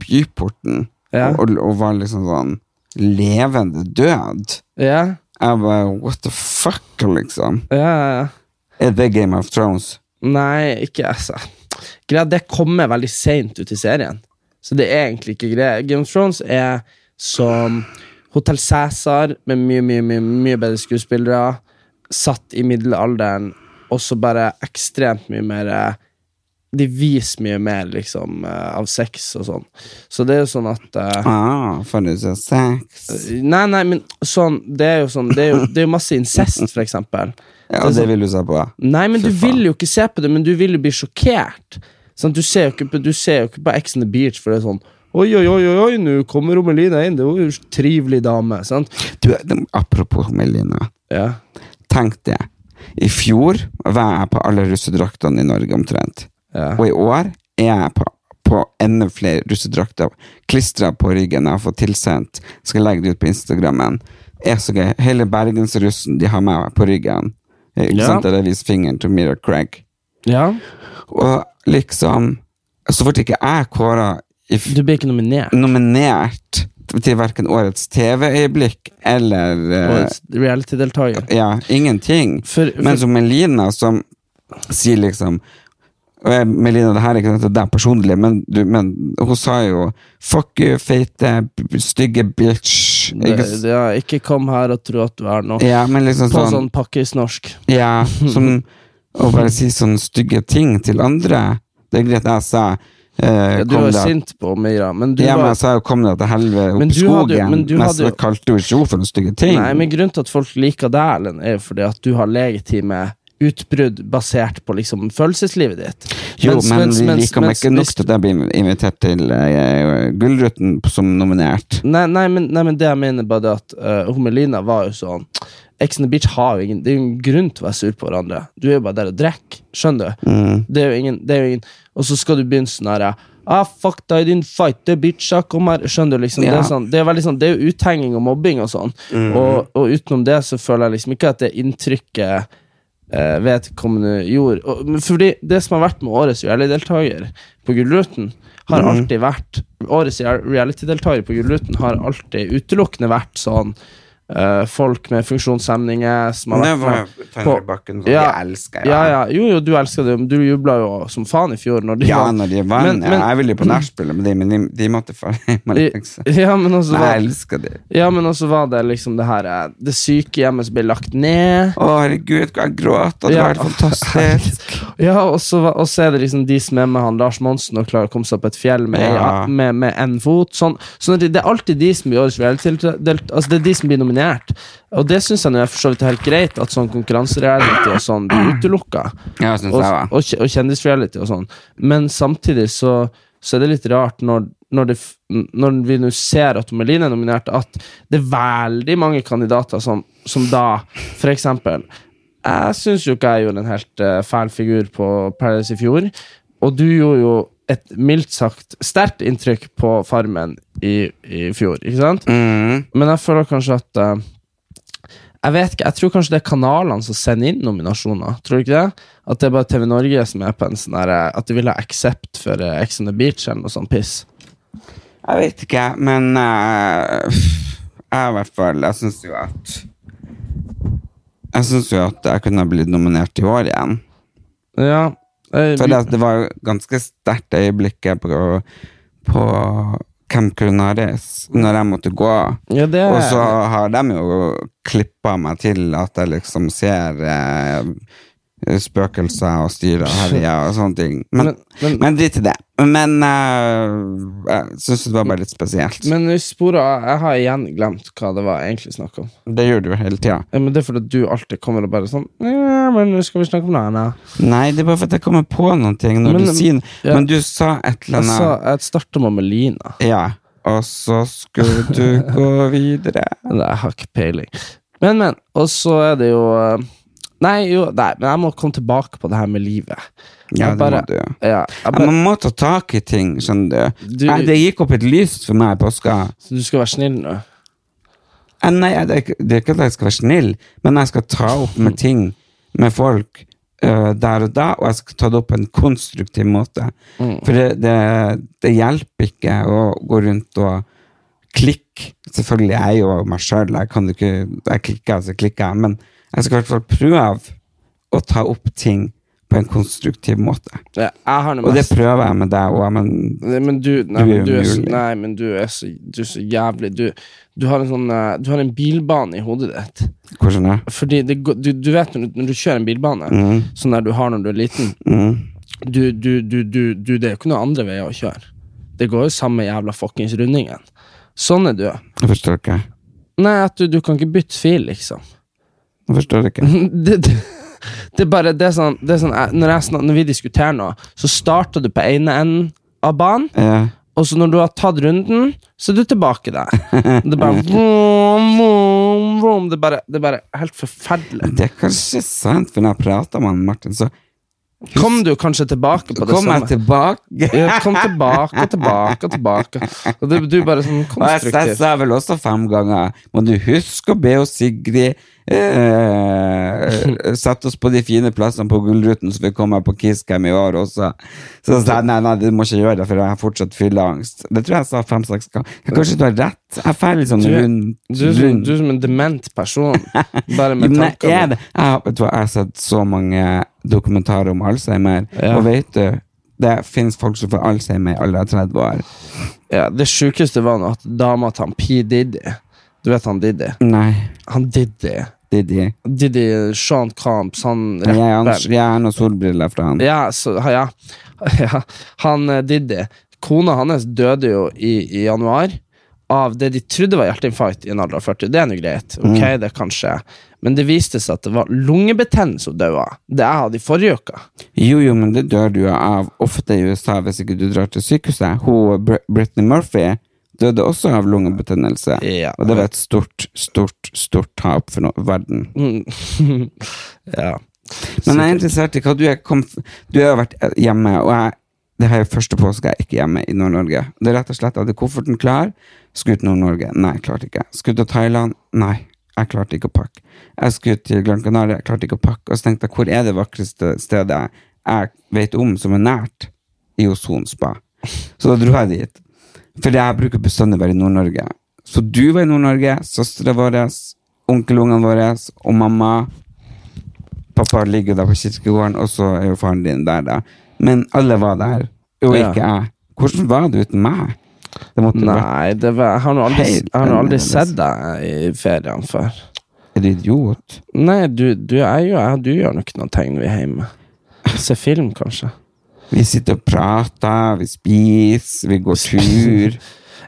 [SPEAKER 2] byporten
[SPEAKER 1] Ja.
[SPEAKER 2] og, og var liksom sånn levende død.
[SPEAKER 1] Ja,
[SPEAKER 2] Jeg bare What the fuck, liksom?
[SPEAKER 1] ja, ja. ja.
[SPEAKER 2] Er det Game of Thrones?
[SPEAKER 1] Nei, ikke altså. Greia, det kommer veldig seint ut i serien. Så det er egentlig ikke greia. Game of Thrones er som Hotell Cæsar, med mye, mye, mye, mye bedre skuespillere, satt i middelalderen, og så bare ekstremt mye mer eh, De viser mye mer, liksom, eh, av sex og sånn. Så det er jo sånn at eh,
[SPEAKER 2] Ah, for det er sex.
[SPEAKER 1] Nei, nei, men sånn Det er jo sånn Det er jo, det er jo masse incest, for eksempel.
[SPEAKER 2] Ja, det vil du se på.
[SPEAKER 1] Nei, men
[SPEAKER 2] Fy
[SPEAKER 1] du
[SPEAKER 2] faen.
[SPEAKER 1] vil jo ikke se på det, men du vil jo bli sjokkert. Sånn, du, ser jo ikke på, du ser jo ikke på Ex on the Beach, for det er sånn Oi, oi, oi, oi, oi, nå kommer Romelina inn. Det er jo en trivelig dame. Sant?
[SPEAKER 2] Du, de- apropos Melina.
[SPEAKER 1] Ja.
[SPEAKER 2] Tenk det. I fjor var jeg på alle russedraktene i Norge omtrent.
[SPEAKER 1] Ja.
[SPEAKER 2] Og i år er jeg på, på enda flere russedrakter klistra på ryggen jeg har fått tilsendt. Skal legge det ut på Instagrammen. Er så gøy. Hele bergensrussen de har med meg på ryggen. Eh, Ikke
[SPEAKER 1] Ja.
[SPEAKER 2] sant? Der jeg viser fingeren til Mira Craig.
[SPEAKER 1] ja.
[SPEAKER 2] Og liksom Så ble ikke jeg kåra
[SPEAKER 1] Du blir ikke nominert.
[SPEAKER 2] nominert til verken årets TV-øyeblikk eller eh,
[SPEAKER 1] Årets reality-deltaker.
[SPEAKER 2] ja, ingenting.
[SPEAKER 1] For- for-
[SPEAKER 2] Men som Melina, som sier liksom og jeg- Melina, det her er ikke noe til deg personlig, men, du, men hun sa jo 'fuck you, feite, b- stygge bitch'. Ikke,
[SPEAKER 1] Det-
[SPEAKER 2] s-
[SPEAKER 1] det- Ja, ikke kom her og tro at du er noe.
[SPEAKER 2] ja, men liksom
[SPEAKER 1] På
[SPEAKER 2] sånn,
[SPEAKER 1] sånn pakkisnorsk.
[SPEAKER 2] Ja,
[SPEAKER 1] [laughs]
[SPEAKER 2] som å bare si sånne stygge ting til andre. Det er greit jeg sa eh,
[SPEAKER 1] Ja, du
[SPEAKER 2] kom
[SPEAKER 1] var
[SPEAKER 2] deg-
[SPEAKER 1] sint på Mira, men du
[SPEAKER 2] ja, men
[SPEAKER 1] var
[SPEAKER 2] jeg sa jo 'kom deg til helvete opp
[SPEAKER 1] Men
[SPEAKER 2] i
[SPEAKER 1] du hadde jo-
[SPEAKER 2] skogen',
[SPEAKER 1] men du
[SPEAKER 2] men
[SPEAKER 1] hadde
[SPEAKER 2] så
[SPEAKER 1] jo-
[SPEAKER 2] kalte hun ikke henne for noen stygge ting.
[SPEAKER 1] Nei, men grunnen til at folk liker deg, Erlend, er jo fordi at du har legitime utbrudd basert på liksom følelseslivet ditt.
[SPEAKER 2] Jo,
[SPEAKER 1] Mens-
[SPEAKER 2] men
[SPEAKER 1] mens-
[SPEAKER 2] vi
[SPEAKER 1] mens-
[SPEAKER 2] liker meg
[SPEAKER 1] mens
[SPEAKER 2] ikke nok
[SPEAKER 1] hvis-
[SPEAKER 2] til at jeg blir invitert til eh, Gullruten som nominert.
[SPEAKER 1] Nei, nei, men, nei, men det jeg mener bare det at eh, Homelina var jo sånn Ex on the Beach har jo ingen Det er jo ingen grunn til å være sur på hverandre. Du er jo bare der og drikker. Skjønner du?
[SPEAKER 2] Mm.
[SPEAKER 1] Det er jo ingen, det er jo ingen Og så skal du begynne sånn her Ah, fuck deg, din fighter, bitcha, kom her. Skjønner du, liksom. Det,
[SPEAKER 2] Ja. Mm.
[SPEAKER 1] er sånn, det er veldig sånn Det er jo uthenging og mobbing og sånn. Og, og utenom det så føler jeg liksom ikke at det inntrykket eh, vedkommende gjorde. Og, men fordi det som har vært med årets reality-deltaker på Gullruten, har
[SPEAKER 2] Mhm.
[SPEAKER 1] alltid vært Årets real- reality-deltaker på Gullruten har alltid utelukkende vært sånn eh, folk med funksjonshemninger som har
[SPEAKER 2] Det
[SPEAKER 1] vært
[SPEAKER 2] var
[SPEAKER 1] med
[SPEAKER 2] Petter Bakken, som jeg elsker,
[SPEAKER 1] sånn Ja.
[SPEAKER 2] ja.
[SPEAKER 1] Ja, Jo, jo, du elsker det, men du jubla jo som faen i fjor. Når de
[SPEAKER 2] Ja,
[SPEAKER 1] vant.
[SPEAKER 2] når de vann.
[SPEAKER 1] Men- men-
[SPEAKER 2] ja, jeg ville jo på nachspielet med dem, men de, [laughs] de måtte dra hjem og legge seg.
[SPEAKER 1] [laughs] ja, men også
[SPEAKER 2] Nei,
[SPEAKER 1] var,
[SPEAKER 2] Jeg elsker dem.
[SPEAKER 1] ja, men også var det liksom det her eh, Det sykehjemmet som ble lagt ned.
[SPEAKER 2] Å, herregud, hva jeg gråt, og det
[SPEAKER 1] Ja.
[SPEAKER 2] var helt
[SPEAKER 1] [laughs]
[SPEAKER 2] fantastisk.
[SPEAKER 1] Ja, og så, var- og så er det liksom de som er med han Lars Monsen og klarer å komme seg opp et fjell med,
[SPEAKER 2] Ja.
[SPEAKER 1] med, med en fot. Sånn, sånn at det, det er alltid de som blir årets realitydelt- delt- altså det er de som blir nominert. Og det syns jeg nå er for så vidt helt greit, at sånn konkurransereality og sånn blir utelukka.
[SPEAKER 2] Ja, synes
[SPEAKER 1] Og,
[SPEAKER 2] jeg var.
[SPEAKER 1] og, kje- og kjendisreality og sånn. Men samtidig så, så er det litt rart når, når, det, f- når vi nå ser at Melina er nominert, at det er veldig mange kandidater som, som da, for eksempel Jeg syns jo ikke jeg gjorde en helt eh, fæl figur på Paradise i fjor, og du gjorde jo et mildt sagt sterkt inntrykk på Farmen i, i fjor, ikke sant?
[SPEAKER 2] Mm.
[SPEAKER 1] Men jeg føler kanskje at eh, Jeg vet ikke, jeg tror kanskje det er kanalene som sender inn nominasjoner. Tror du ikke det? At det er bare TV Norge som er på en sånn der, eh, At de vil ha Accept for eh, Ex on the Beach eller noe sånt piss.
[SPEAKER 2] Jeg vet ikke, men eh, jeg i hvert fall Jeg syns jo at Jeg syns jo at jeg kunne ha blitt nominert i år igjen.
[SPEAKER 1] Ja, eh,
[SPEAKER 2] For
[SPEAKER 1] vi-
[SPEAKER 2] det, det var jo ganske sterkt det øyeblikket på, på Camp Culinaris, når jeg måtte gå.
[SPEAKER 1] ja, det
[SPEAKER 2] Og så har de jo klippa meg til at jeg liksom ser eh, spøkelser og styrer og herjer og sånne ting. Men,
[SPEAKER 1] Men- men-
[SPEAKER 2] men drit i det. Men eh, jeg syns det var bare litt spesielt.
[SPEAKER 1] Men vi sporer av. Jeg har igjen glemt hva det var jeg egentlig snakk om.
[SPEAKER 2] det gjør du jo hele tida.
[SPEAKER 1] Eh, Men det er fordi at du alltid kommer og bare sånn Ja, men nå skal vi snakke om det her, nå.
[SPEAKER 2] Nei, det er bare for at jeg kommer på noen ting når
[SPEAKER 1] Men-
[SPEAKER 2] du sier
[SPEAKER 1] ja.
[SPEAKER 2] Men du sa et eller
[SPEAKER 1] Jeg
[SPEAKER 2] annet.
[SPEAKER 1] sa- Jeg starta med Melina.
[SPEAKER 2] Ja. Og så skulle du gå
[SPEAKER 1] [laughs]
[SPEAKER 2] videre.
[SPEAKER 1] Nei, jeg har ikke peiling. Men, men. Og så er det jo eh, Nei, jo, nei, men jeg må komme tilbake på det her med livet.
[SPEAKER 2] Ja,
[SPEAKER 1] Jeg
[SPEAKER 2] det
[SPEAKER 1] bare-
[SPEAKER 2] må du.
[SPEAKER 1] Ja, jeg
[SPEAKER 2] Ja,
[SPEAKER 1] bare,
[SPEAKER 2] man må ta tak i ting, skjønner du.
[SPEAKER 1] Du-
[SPEAKER 2] Nei, det gikk opp et lys for meg i påska.
[SPEAKER 1] så du skal være snill nå?
[SPEAKER 2] Eh, Nei, jeg- det er ikke- det er ikke at jeg skal være snill, men jeg skal ta opp med ting med folk eh, der og da, og jeg skal ta det opp på en konstruktiv måte. For det, det, det hjelper ikke å gå rundt og klikke. Selvfølgelig, jeg er jo meg sjøl, jeg kan jo ikke Jeg klikker, så klikker jeg, men jeg skal i hvert fall prøve å ta opp ting på en konstruktiv måte.
[SPEAKER 1] Ja, Jeg har det
[SPEAKER 2] Og det
[SPEAKER 1] mest
[SPEAKER 2] prøver jeg med deg òg, men
[SPEAKER 1] Nei, men du, nei,
[SPEAKER 2] Du er
[SPEAKER 1] men du, er så,
[SPEAKER 2] umulig.
[SPEAKER 1] nei, men du er så, du er så jævlig du, du har en sånn eh, Du har en bilbane i hodet ditt.
[SPEAKER 2] hvordan er det?
[SPEAKER 1] Fordi det, går- du, du vet når du, når du kjører en bilbane,
[SPEAKER 2] Mm.
[SPEAKER 1] sånn der du har når du er liten du, du, du, du, du, Det er jo ikke noen andre veier å kjøre. Det går jo samme jævla fuckings rundingen. Sånn er du.
[SPEAKER 2] Jeg forstår ikke.
[SPEAKER 1] Nei, at du, du kan ikke bytte fil, liksom. [laughs]
[SPEAKER 2] Jeg forstår ikke.
[SPEAKER 1] det, det, det er bare det er sånn, det er sånn jeg, når, jeg snak, når vi diskuterer nå, så starter du på ene enden av banen,
[SPEAKER 2] Ja.
[SPEAKER 1] og så når du har tatt runden, så er du tilbake der. Det er bare vroom, vroom, vroom. Det, er bare, det er bare helt forferdelig.
[SPEAKER 2] Det er kanskje sant, for når jeg prater med han Martin, så
[SPEAKER 1] Kom du kanskje tilbake på det
[SPEAKER 2] kom jeg
[SPEAKER 1] samme?
[SPEAKER 2] tilbake.
[SPEAKER 1] [laughs] Ja, kom tilbake og tilbake og tilbake. Og det, du er bare sånn
[SPEAKER 2] Og jeg jeg
[SPEAKER 1] konstruktiv.
[SPEAKER 2] sa vel også fem ganger Må du huske å be oss Sigrid eh,
[SPEAKER 1] [laughs]
[SPEAKER 2] sette oss på de fine plassene på Gullruten, så vi kommer på Kisscam i år også. Så sa jeg nei, nei, du må ikke gjøre det, for jeg har fortsatt fylleangst. Det tror jeg jeg sa fem-seks ganger. Kanskje du har rett? Jeg er litt sånn
[SPEAKER 1] Du-
[SPEAKER 2] rundt.
[SPEAKER 1] Du er, som,
[SPEAKER 2] rundt.
[SPEAKER 1] du er som en dement person,
[SPEAKER 2] [laughs]
[SPEAKER 1] bare med
[SPEAKER 2] Men jeg er
[SPEAKER 1] tankene.
[SPEAKER 2] det. Jeg, har- vet du hva, jeg har sett så mange dokumentarer om Alzheimer, og vet du det finnes folk som får Alzheimer i alder av 30 år.
[SPEAKER 1] Ja, det sjukeste var nå at dama til han P. Diddy Du vet han Diddy?
[SPEAKER 2] Nei,
[SPEAKER 1] Han Diddy.
[SPEAKER 2] det er de.
[SPEAKER 1] Diddy Sean Camps, han
[SPEAKER 2] Jeg har ans-
[SPEAKER 1] rapperen.
[SPEAKER 2] jeg har noen solbriller fra han.
[SPEAKER 1] Ja, så, ha- ja. [laughs] ja. Han eh, Diddy. Kona hans døde jo i, i januar, av det de trodde var hjerteinfarkt i en alder av 40. Det er nå greit.
[SPEAKER 2] Mm.
[SPEAKER 1] Ok, det kan skje. Men det viste seg at det var lungebetennelse hun døde av. Det jeg hadde i forrige uke.
[SPEAKER 2] Jo, jo, men det dør du jo av ofte i USA hvis ikke du drar til sykehuset. Hun, Br Britney Murphy døde også av lungebetennelse,
[SPEAKER 1] Ja.
[SPEAKER 2] og det var et stort, stort, stort tap for no verden.
[SPEAKER 1] Mm. ja.
[SPEAKER 2] Men jeg er interessert i hva du er kom, Du har jo vært hjemme, og jeg, det her er første påske jeg ikke er hjemme i Nord-Norge. Det er rett og slett, jeg hadde kofferten klar, skulle til Nord-Norge. Nei, jeg klarte ikke. Skulle til Thailand. Nei, jeg klarte ikke å pakke. Jeg skulle til Gran Canaria, jeg klarte ikke å pakke. Og så tenkte jeg, hvor er det vakreste stedet jeg vet om som er nært? I Ozon spa. Så da dro jeg dit. For jeg bruker bestandig å være i Nord-Norge. Så du var i Nord-Norge, søstera vår, onkelungene våre og mamma. Pappa ligger da på kirkegården, og så er jo faren din der, da. Men alle var der, og
[SPEAKER 1] Ja.
[SPEAKER 2] ikke jeg. Hvordan var det uten meg? Det måtte jo vært
[SPEAKER 1] Nei, det var, jeg har nå aldri,
[SPEAKER 2] Helt
[SPEAKER 1] jeg har nå aldri
[SPEAKER 2] annerledes.
[SPEAKER 1] sett deg i feriene før.
[SPEAKER 2] Er du idiot?
[SPEAKER 1] Nei, du, du er jo jeg, du gjør nok noen ting når vi er hjemme. Se film, kanskje.
[SPEAKER 2] Vi sitter og prater, vi spiser, vi går
[SPEAKER 1] [laughs]
[SPEAKER 2] tur.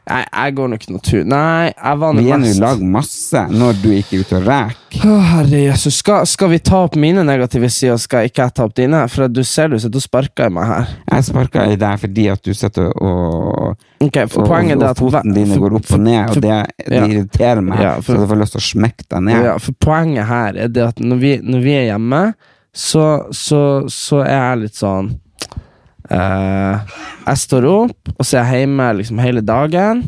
[SPEAKER 1] Nei, jeg går nok noen tur. Nei, jeg var nå
[SPEAKER 2] Vi er nå i
[SPEAKER 1] mest-
[SPEAKER 2] lag masse når du ikke er ute og reker.
[SPEAKER 1] Å, herre Jesus. Skal, skal vi ta opp mine negative sider, skal ikke jeg ta opp dine? For at du ser du sitter og sparker i meg her.
[SPEAKER 2] Jeg sparka i deg fordi at du sitter og,
[SPEAKER 1] Ok,
[SPEAKER 2] og,
[SPEAKER 1] for poenget
[SPEAKER 2] og,
[SPEAKER 1] er
[SPEAKER 2] og
[SPEAKER 1] at hver-
[SPEAKER 2] foten din
[SPEAKER 1] for-
[SPEAKER 2] går opp og ned,
[SPEAKER 1] for-
[SPEAKER 2] og det, det
[SPEAKER 1] ja.
[SPEAKER 2] irriterer meg.
[SPEAKER 1] Ja, for-
[SPEAKER 2] så jeg får lyst til å smekke deg ned.
[SPEAKER 1] Ja, for poenget her er det at når vi, når vi er hjemme, så, så, så er jeg litt sånn eh, Jeg står opp, og så er jeg hjemme liksom hele dagen.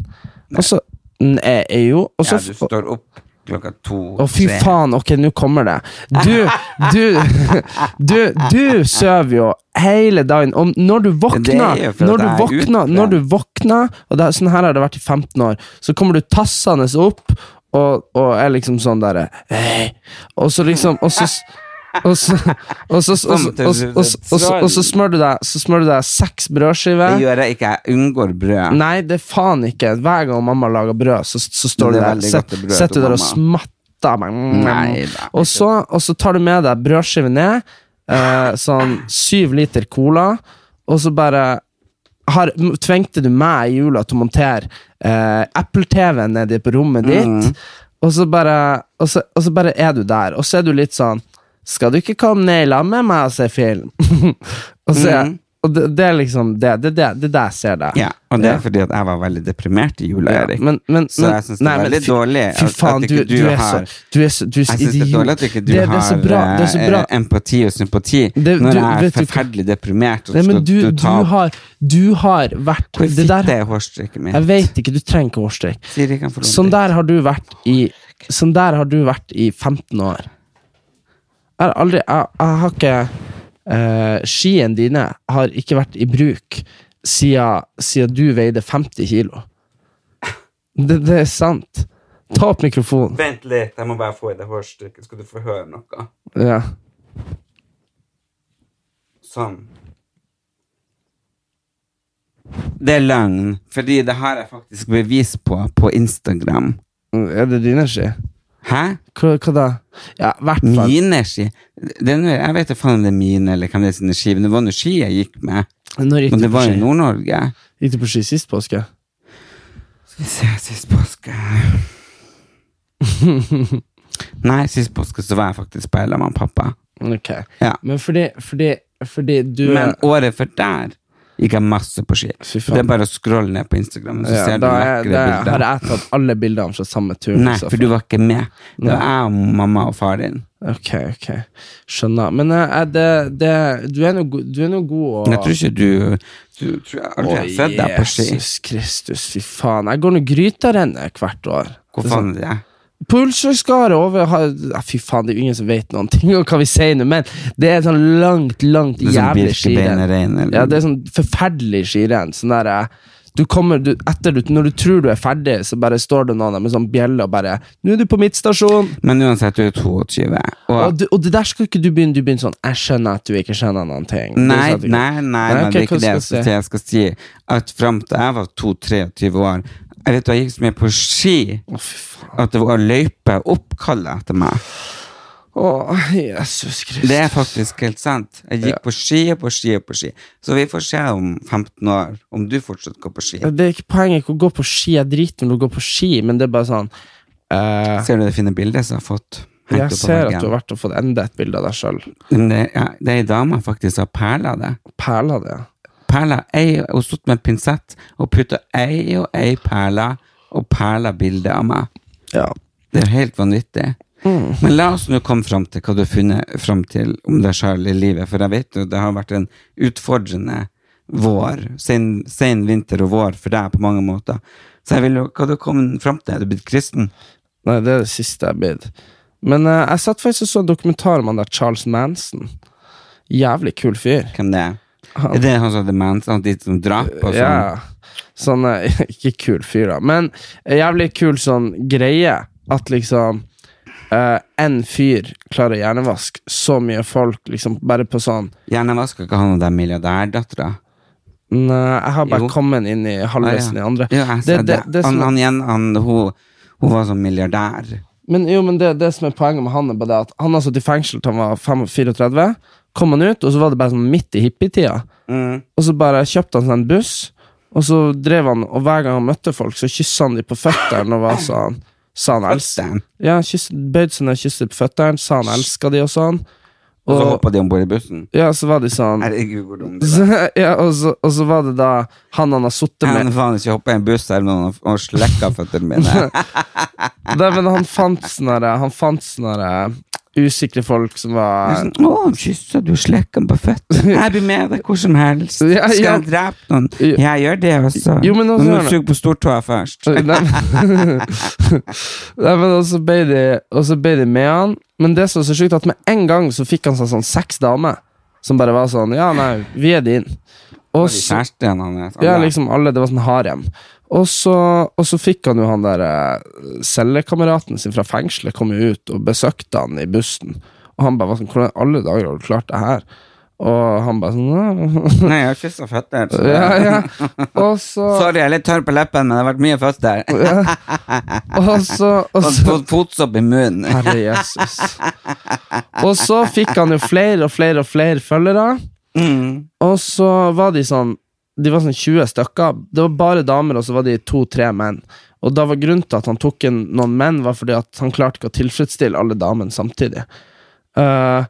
[SPEAKER 1] Og så N- Jeg er jo Og så
[SPEAKER 2] Ja, du står opp klokka to.
[SPEAKER 1] å, fy
[SPEAKER 2] tre.
[SPEAKER 1] faen, ok, nå kommer det. Du, du, du, du sover jo hele dagen. Og når du våkner,
[SPEAKER 2] Det er jo for at
[SPEAKER 1] når du
[SPEAKER 2] jeg er
[SPEAKER 1] våkner,
[SPEAKER 2] utbrent.
[SPEAKER 1] når du våkner og det, er- Sånn her har det vært i 15 år. Så kommer du tassende opp og, og er liksom sånn derre «Hei». Og så liksom Og så og så, og så, og så, og så, og så, og så, og så, og så smør du deg Så smør du deg seks
[SPEAKER 2] Det
[SPEAKER 1] brødskiver.
[SPEAKER 2] gjør jeg ikke. Jeg unngår brød.
[SPEAKER 1] Nei, det er faen ikke. Hver gang mamma lager brød, så, så
[SPEAKER 2] Men
[SPEAKER 1] står du
[SPEAKER 2] det er
[SPEAKER 1] der
[SPEAKER 2] veldig
[SPEAKER 1] sett-
[SPEAKER 2] godt brød
[SPEAKER 1] Sitter du
[SPEAKER 2] til
[SPEAKER 1] der og
[SPEAKER 2] mamma.
[SPEAKER 1] smatter. meg.
[SPEAKER 2] Nei, da.
[SPEAKER 1] og, så, og så tar du med deg brødskive ned, eh, sånn syv liter cola, og så bare har, m- tvengte du meg i jula til å montere eh, Apple-TV nedi på rommet
[SPEAKER 2] Mm.
[SPEAKER 1] ditt, og, så bare, og, så, og så bare er du der. Og så er du litt sånn Skal du ikke komme ned i lag med meg og se film? [laughs] og så, er-
[SPEAKER 2] Mm.
[SPEAKER 1] og det, det er liksom det. Det er det, det, er det jeg ser deg.
[SPEAKER 2] Ja, og det
[SPEAKER 1] Ja.
[SPEAKER 2] er fordi at jeg var veldig deprimert i jula,
[SPEAKER 1] Ja,
[SPEAKER 2] Erik.
[SPEAKER 1] men, men,
[SPEAKER 2] så
[SPEAKER 1] men-
[SPEAKER 2] jeg syns det
[SPEAKER 1] nei,
[SPEAKER 2] er
[SPEAKER 1] men
[SPEAKER 2] veldig
[SPEAKER 1] fy-
[SPEAKER 2] dårlig at,
[SPEAKER 1] Fy faen,
[SPEAKER 2] at ikke
[SPEAKER 1] du, du er så
[SPEAKER 2] har
[SPEAKER 1] Du er så, du er så
[SPEAKER 2] Jeg syns det er
[SPEAKER 1] idiot.
[SPEAKER 2] dårlig at ikke du
[SPEAKER 1] Det- det er så
[SPEAKER 2] har
[SPEAKER 1] bra, det er så
[SPEAKER 2] eh,
[SPEAKER 1] bra.
[SPEAKER 2] empati og sympati
[SPEAKER 1] Det-
[SPEAKER 2] når
[SPEAKER 1] du-
[SPEAKER 2] jeg er
[SPEAKER 1] vet du hva-
[SPEAKER 2] forferdelig deprimert. Og
[SPEAKER 1] Nei, men
[SPEAKER 2] skal
[SPEAKER 1] du,
[SPEAKER 2] du,
[SPEAKER 1] du,
[SPEAKER 2] ta opp-
[SPEAKER 1] har, du har vært
[SPEAKER 2] Hvor
[SPEAKER 1] Det der
[SPEAKER 2] fitte er hårstrykket mitt?
[SPEAKER 1] Jeg vet ikke, du trenger ikke hårstrikk.
[SPEAKER 2] Siri kan få låne
[SPEAKER 1] Sånn
[SPEAKER 2] det.
[SPEAKER 1] der har du vært i Sånn der har du vært i 15 år. Jeg har aldri Jeg, jeg har ikke eh, Skiene dine har ikke vært i bruk siden, siden du veide 50 kilo. Det, det er sant. Ta opp mikrofonen.
[SPEAKER 2] Vent litt, jeg må bare få i det hårstrykket. Skal du få høre noe?
[SPEAKER 1] Ja.
[SPEAKER 2] Sånn. Det er løgn, fordi det har jeg faktisk bevis på på Instagram.
[SPEAKER 1] Er det dine ski?
[SPEAKER 2] Hæ?
[SPEAKER 1] Hva, hva da? Ja, i hvert fall.
[SPEAKER 2] Mine ski? Det er nå- jeg vet da faen om det er mine eller hvem det er sine ski, men det var nå ski jeg gikk med.
[SPEAKER 1] Når gikk
[SPEAKER 2] Men
[SPEAKER 1] du
[SPEAKER 2] det
[SPEAKER 1] på
[SPEAKER 2] var i
[SPEAKER 1] ski?
[SPEAKER 2] Nord-Norge.
[SPEAKER 1] Gikk du på ski sist påske?
[SPEAKER 2] Skal vi se, sist påske [laughs] Nei, sist påske så var jeg faktisk på Ellemann, pappa.
[SPEAKER 1] Ok.
[SPEAKER 2] Ja.
[SPEAKER 1] Men fordi, fordi, fordi du
[SPEAKER 2] Men året før der gikk jeg masse på ski.
[SPEAKER 1] Fy faen.
[SPEAKER 2] Det er bare å scrolle ned på Instagram, så
[SPEAKER 1] ja,
[SPEAKER 2] ser du
[SPEAKER 1] da er,
[SPEAKER 2] lekre
[SPEAKER 1] da er, har
[SPEAKER 2] bilder.
[SPEAKER 1] jeg tatt alle bildene fra samme tur.
[SPEAKER 2] Nei,
[SPEAKER 1] i så
[SPEAKER 2] for
[SPEAKER 1] fall.
[SPEAKER 2] du var ikke med. Det var jeg og mamma og far din.
[SPEAKER 1] Ok, ok. Skjønner. Men eh, er det, det, du er nå go- du er nå god å
[SPEAKER 2] Jeg tror ikke du Du tror jeg aldri har sett deg på ski.
[SPEAKER 1] Jesus Kristus, fy faen. Jeg går nå grytarennet hvert år.
[SPEAKER 2] Hvor faen er det?
[SPEAKER 1] På Ulsvågskaret over har- ja, Fy faen, det er jo ingen som vet noen ting om hva vi sier nå, men det er sånn langt, langt
[SPEAKER 2] Det er sånn
[SPEAKER 1] jævlig skirenn.
[SPEAKER 2] Birkebeinerrein eller
[SPEAKER 1] Ja, det er sånn forferdelig skirenn. Sånn der, eh, du kommer, du, etter du, når du tror du er ferdig, så bare står det noen der med sånn bjelle og bare 'Nå er du på midtstasjon!'
[SPEAKER 2] Men uansett, du er 22.
[SPEAKER 1] Og,
[SPEAKER 2] Og
[SPEAKER 1] du, og det der skal ikke du begynne. Du begynner sånn 'Jeg skjønner at du ikke skjønner noen ting'. Du
[SPEAKER 2] Nei,
[SPEAKER 1] sa at du-
[SPEAKER 2] nei, nei, nei,
[SPEAKER 1] ok,
[SPEAKER 2] det er ikke
[SPEAKER 1] hva
[SPEAKER 2] det jeg
[SPEAKER 1] skal
[SPEAKER 2] skal si. Jeg skal si at fram til jeg var 2-23 år Jeg vet du, jeg gikk så mye på ski
[SPEAKER 1] Å, fy faen.
[SPEAKER 2] at det var løyper oppkalt etter meg.
[SPEAKER 1] Å, Jesus Kristus.
[SPEAKER 2] Det er faktisk helt sant. Jeg gikk på ski og på ski og på ski. Så vi får se om 15 år om du fortsatt går på ski.
[SPEAKER 1] Det er ikke poenget ikke å gå på ski. Jeg driter om du går på ski, men det er bare sånn eh,
[SPEAKER 2] Ser du det fine bildet som jeg har fått? hengt
[SPEAKER 1] Jeg
[SPEAKER 2] opp på
[SPEAKER 1] ser at
[SPEAKER 2] veggen?
[SPEAKER 1] du har vært og fått enda et bilde av deg sjøl.
[SPEAKER 2] Men det, ja, det er ei dame faktisk som har perla det.
[SPEAKER 1] Perler det.
[SPEAKER 2] Perla ei, Hun satt med pinsett og putta ei og ei perle og perla bildet av meg.
[SPEAKER 1] Ja.
[SPEAKER 2] Det er helt vanvittig. Men la oss nå komme fram til hva du har funnet fram til om deg sjøl i livet, for jeg vet jo det har vært en utfordrende vår, sen, sen vinter og vår for deg på mange måter. Så jeg vil jo, hva du har kommet fram til? Er du blitt kristen?
[SPEAKER 1] Nei, det er det siste jeg blir. Men eh, jeg satt faktisk og så en dokumentar om han der Charles Manson. Jævlig kul fyr.
[SPEAKER 2] Hvem det er? Er det han som hadde mens, han de som drap og sånn?
[SPEAKER 1] Ja. Sånn eh, [laughs] Ikke kul fyr, da, men en jævlig kul sånn greie at liksom Én fyr klarer å hjernevaske så mye folk, liksom bare på sånn
[SPEAKER 2] Hjernevaska ikke han og den milliardærdattera?
[SPEAKER 1] Nei, jeg har bare
[SPEAKER 2] Jo.
[SPEAKER 1] kommet inn i halvveisen i andre.
[SPEAKER 2] Ah, Ja, jeg
[SPEAKER 1] det,
[SPEAKER 2] ser det,
[SPEAKER 1] det, det
[SPEAKER 2] han,
[SPEAKER 1] som,
[SPEAKER 2] han igjen, han, hun, hun var sånn milliardær.
[SPEAKER 1] men jo, men det, det som er poenget med han, er bare det at han har sittet i fengsel til han var 5 34. Kom han ut, og så var det bare sånn midt i hippietida.
[SPEAKER 2] Mm.
[SPEAKER 1] Og så bare kjøpte han seg en buss, og så drev han, og hver gang han møtte folk, så kyssa han de på føttene og var sånn Sa han elska
[SPEAKER 2] Føtteren.
[SPEAKER 1] Ja, han kyss- bøyde seg ned og kysset på føttene, sa han elska de og sånn.
[SPEAKER 2] Og så
[SPEAKER 1] Og
[SPEAKER 2] hoppa de om bord i bussen.
[SPEAKER 1] ja, så var de sånn
[SPEAKER 2] Herregud, hvor dumt. det
[SPEAKER 1] så, [laughs] ja, og, så, og så var det da han han har sittet
[SPEAKER 2] var.
[SPEAKER 1] med
[SPEAKER 2] Jeg kan faen ikke hoppe i en buss der med noen og slekka føttene mine.
[SPEAKER 1] Nei, men han fant sånne der- Han fant sånne der usikre folk som [laughs] var
[SPEAKER 2] Sånn, Å, kyssa du slekken på
[SPEAKER 1] [laughs]
[SPEAKER 2] føttene? Jeg blir med deg hvor som helst.
[SPEAKER 1] Ja,
[SPEAKER 2] Skal
[SPEAKER 1] ja.
[SPEAKER 2] jeg drepe noen?
[SPEAKER 1] Ja.
[SPEAKER 2] Jeg gjør det også.
[SPEAKER 1] Jo, men altså- også gjør det.
[SPEAKER 2] sug på stortåa først.
[SPEAKER 1] [laughs] Nei, men- Nei, men og så ble de Og så ble de med han Men det som er så sykt at med en gang så fikk han seg sånn seks damer Som bare var sånn, ja nei, vi er din Og
[SPEAKER 2] De
[SPEAKER 1] så,
[SPEAKER 2] Kjæresten hans.
[SPEAKER 1] ja liksom alle, det var sånn harem og så, og så fikk han jo han der eh, Cellekameraten sin fra fengselet Kom jo ut og besøkte han i bussen Og han bare var sånn, hvordan i alle dager har du klart det her? Og han bare sånn [laughs] «Nei,
[SPEAKER 2] Nei, jeg har kyssa føttene. så-
[SPEAKER 1] Ja, ja. [laughs] Og så
[SPEAKER 2] Sorry, jeg er litt tørr på leppen, men det har vært mye føtter.
[SPEAKER 1] Og så,
[SPEAKER 2] Og
[SPEAKER 1] og så
[SPEAKER 2] fått fotsopp i munnen.
[SPEAKER 1] [laughs] Herre Jesus. Og så fikk han jo flere og flere og flere følgere.
[SPEAKER 2] Mm.
[SPEAKER 1] Og så var de sånn De var sånn 20 stykker. Det var bare damer, og så var de to-tre menn. Og da var grunnen til at han tok inn noen menn, var fordi at han klarte ikke å tilfredsstille alle damene samtidig. Eh,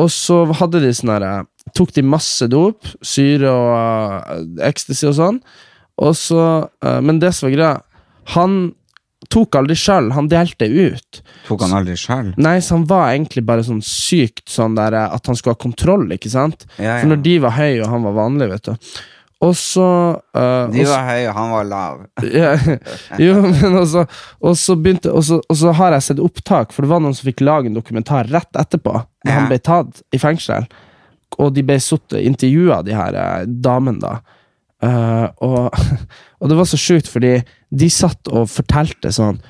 [SPEAKER 1] og så hadde de sånn herre Tok de masse dop, syre og eh, ecstasy og sånn. Og så, eh, men det som var greia, han tok aldri sjøl, han delte ut.
[SPEAKER 2] Tok han aldri sjøl?
[SPEAKER 1] Nei, så han var egentlig bare sånn sykt sånn der eh, at han skulle ha kontroll, ikke sant?
[SPEAKER 2] Ja, ja.
[SPEAKER 1] For når de var høye, og han var vanlig, vet du. Og så eh,
[SPEAKER 2] De
[SPEAKER 1] og så-
[SPEAKER 2] var høye, og han var
[SPEAKER 1] [laughs]
[SPEAKER 2] lav. [laughs]
[SPEAKER 1] ja, Jo, men også, og så begynte og så, og så har jeg sett opptak, for det var noen som fikk lage en dokumentar rett etterpå, da
[SPEAKER 2] Ja.
[SPEAKER 1] han ble tatt i fengsel. Og de ble suttet, intervjua, de her eh, damene, da. Eh, og, [laughs] og det var så sjukt, fordi de satt og fortalte sånn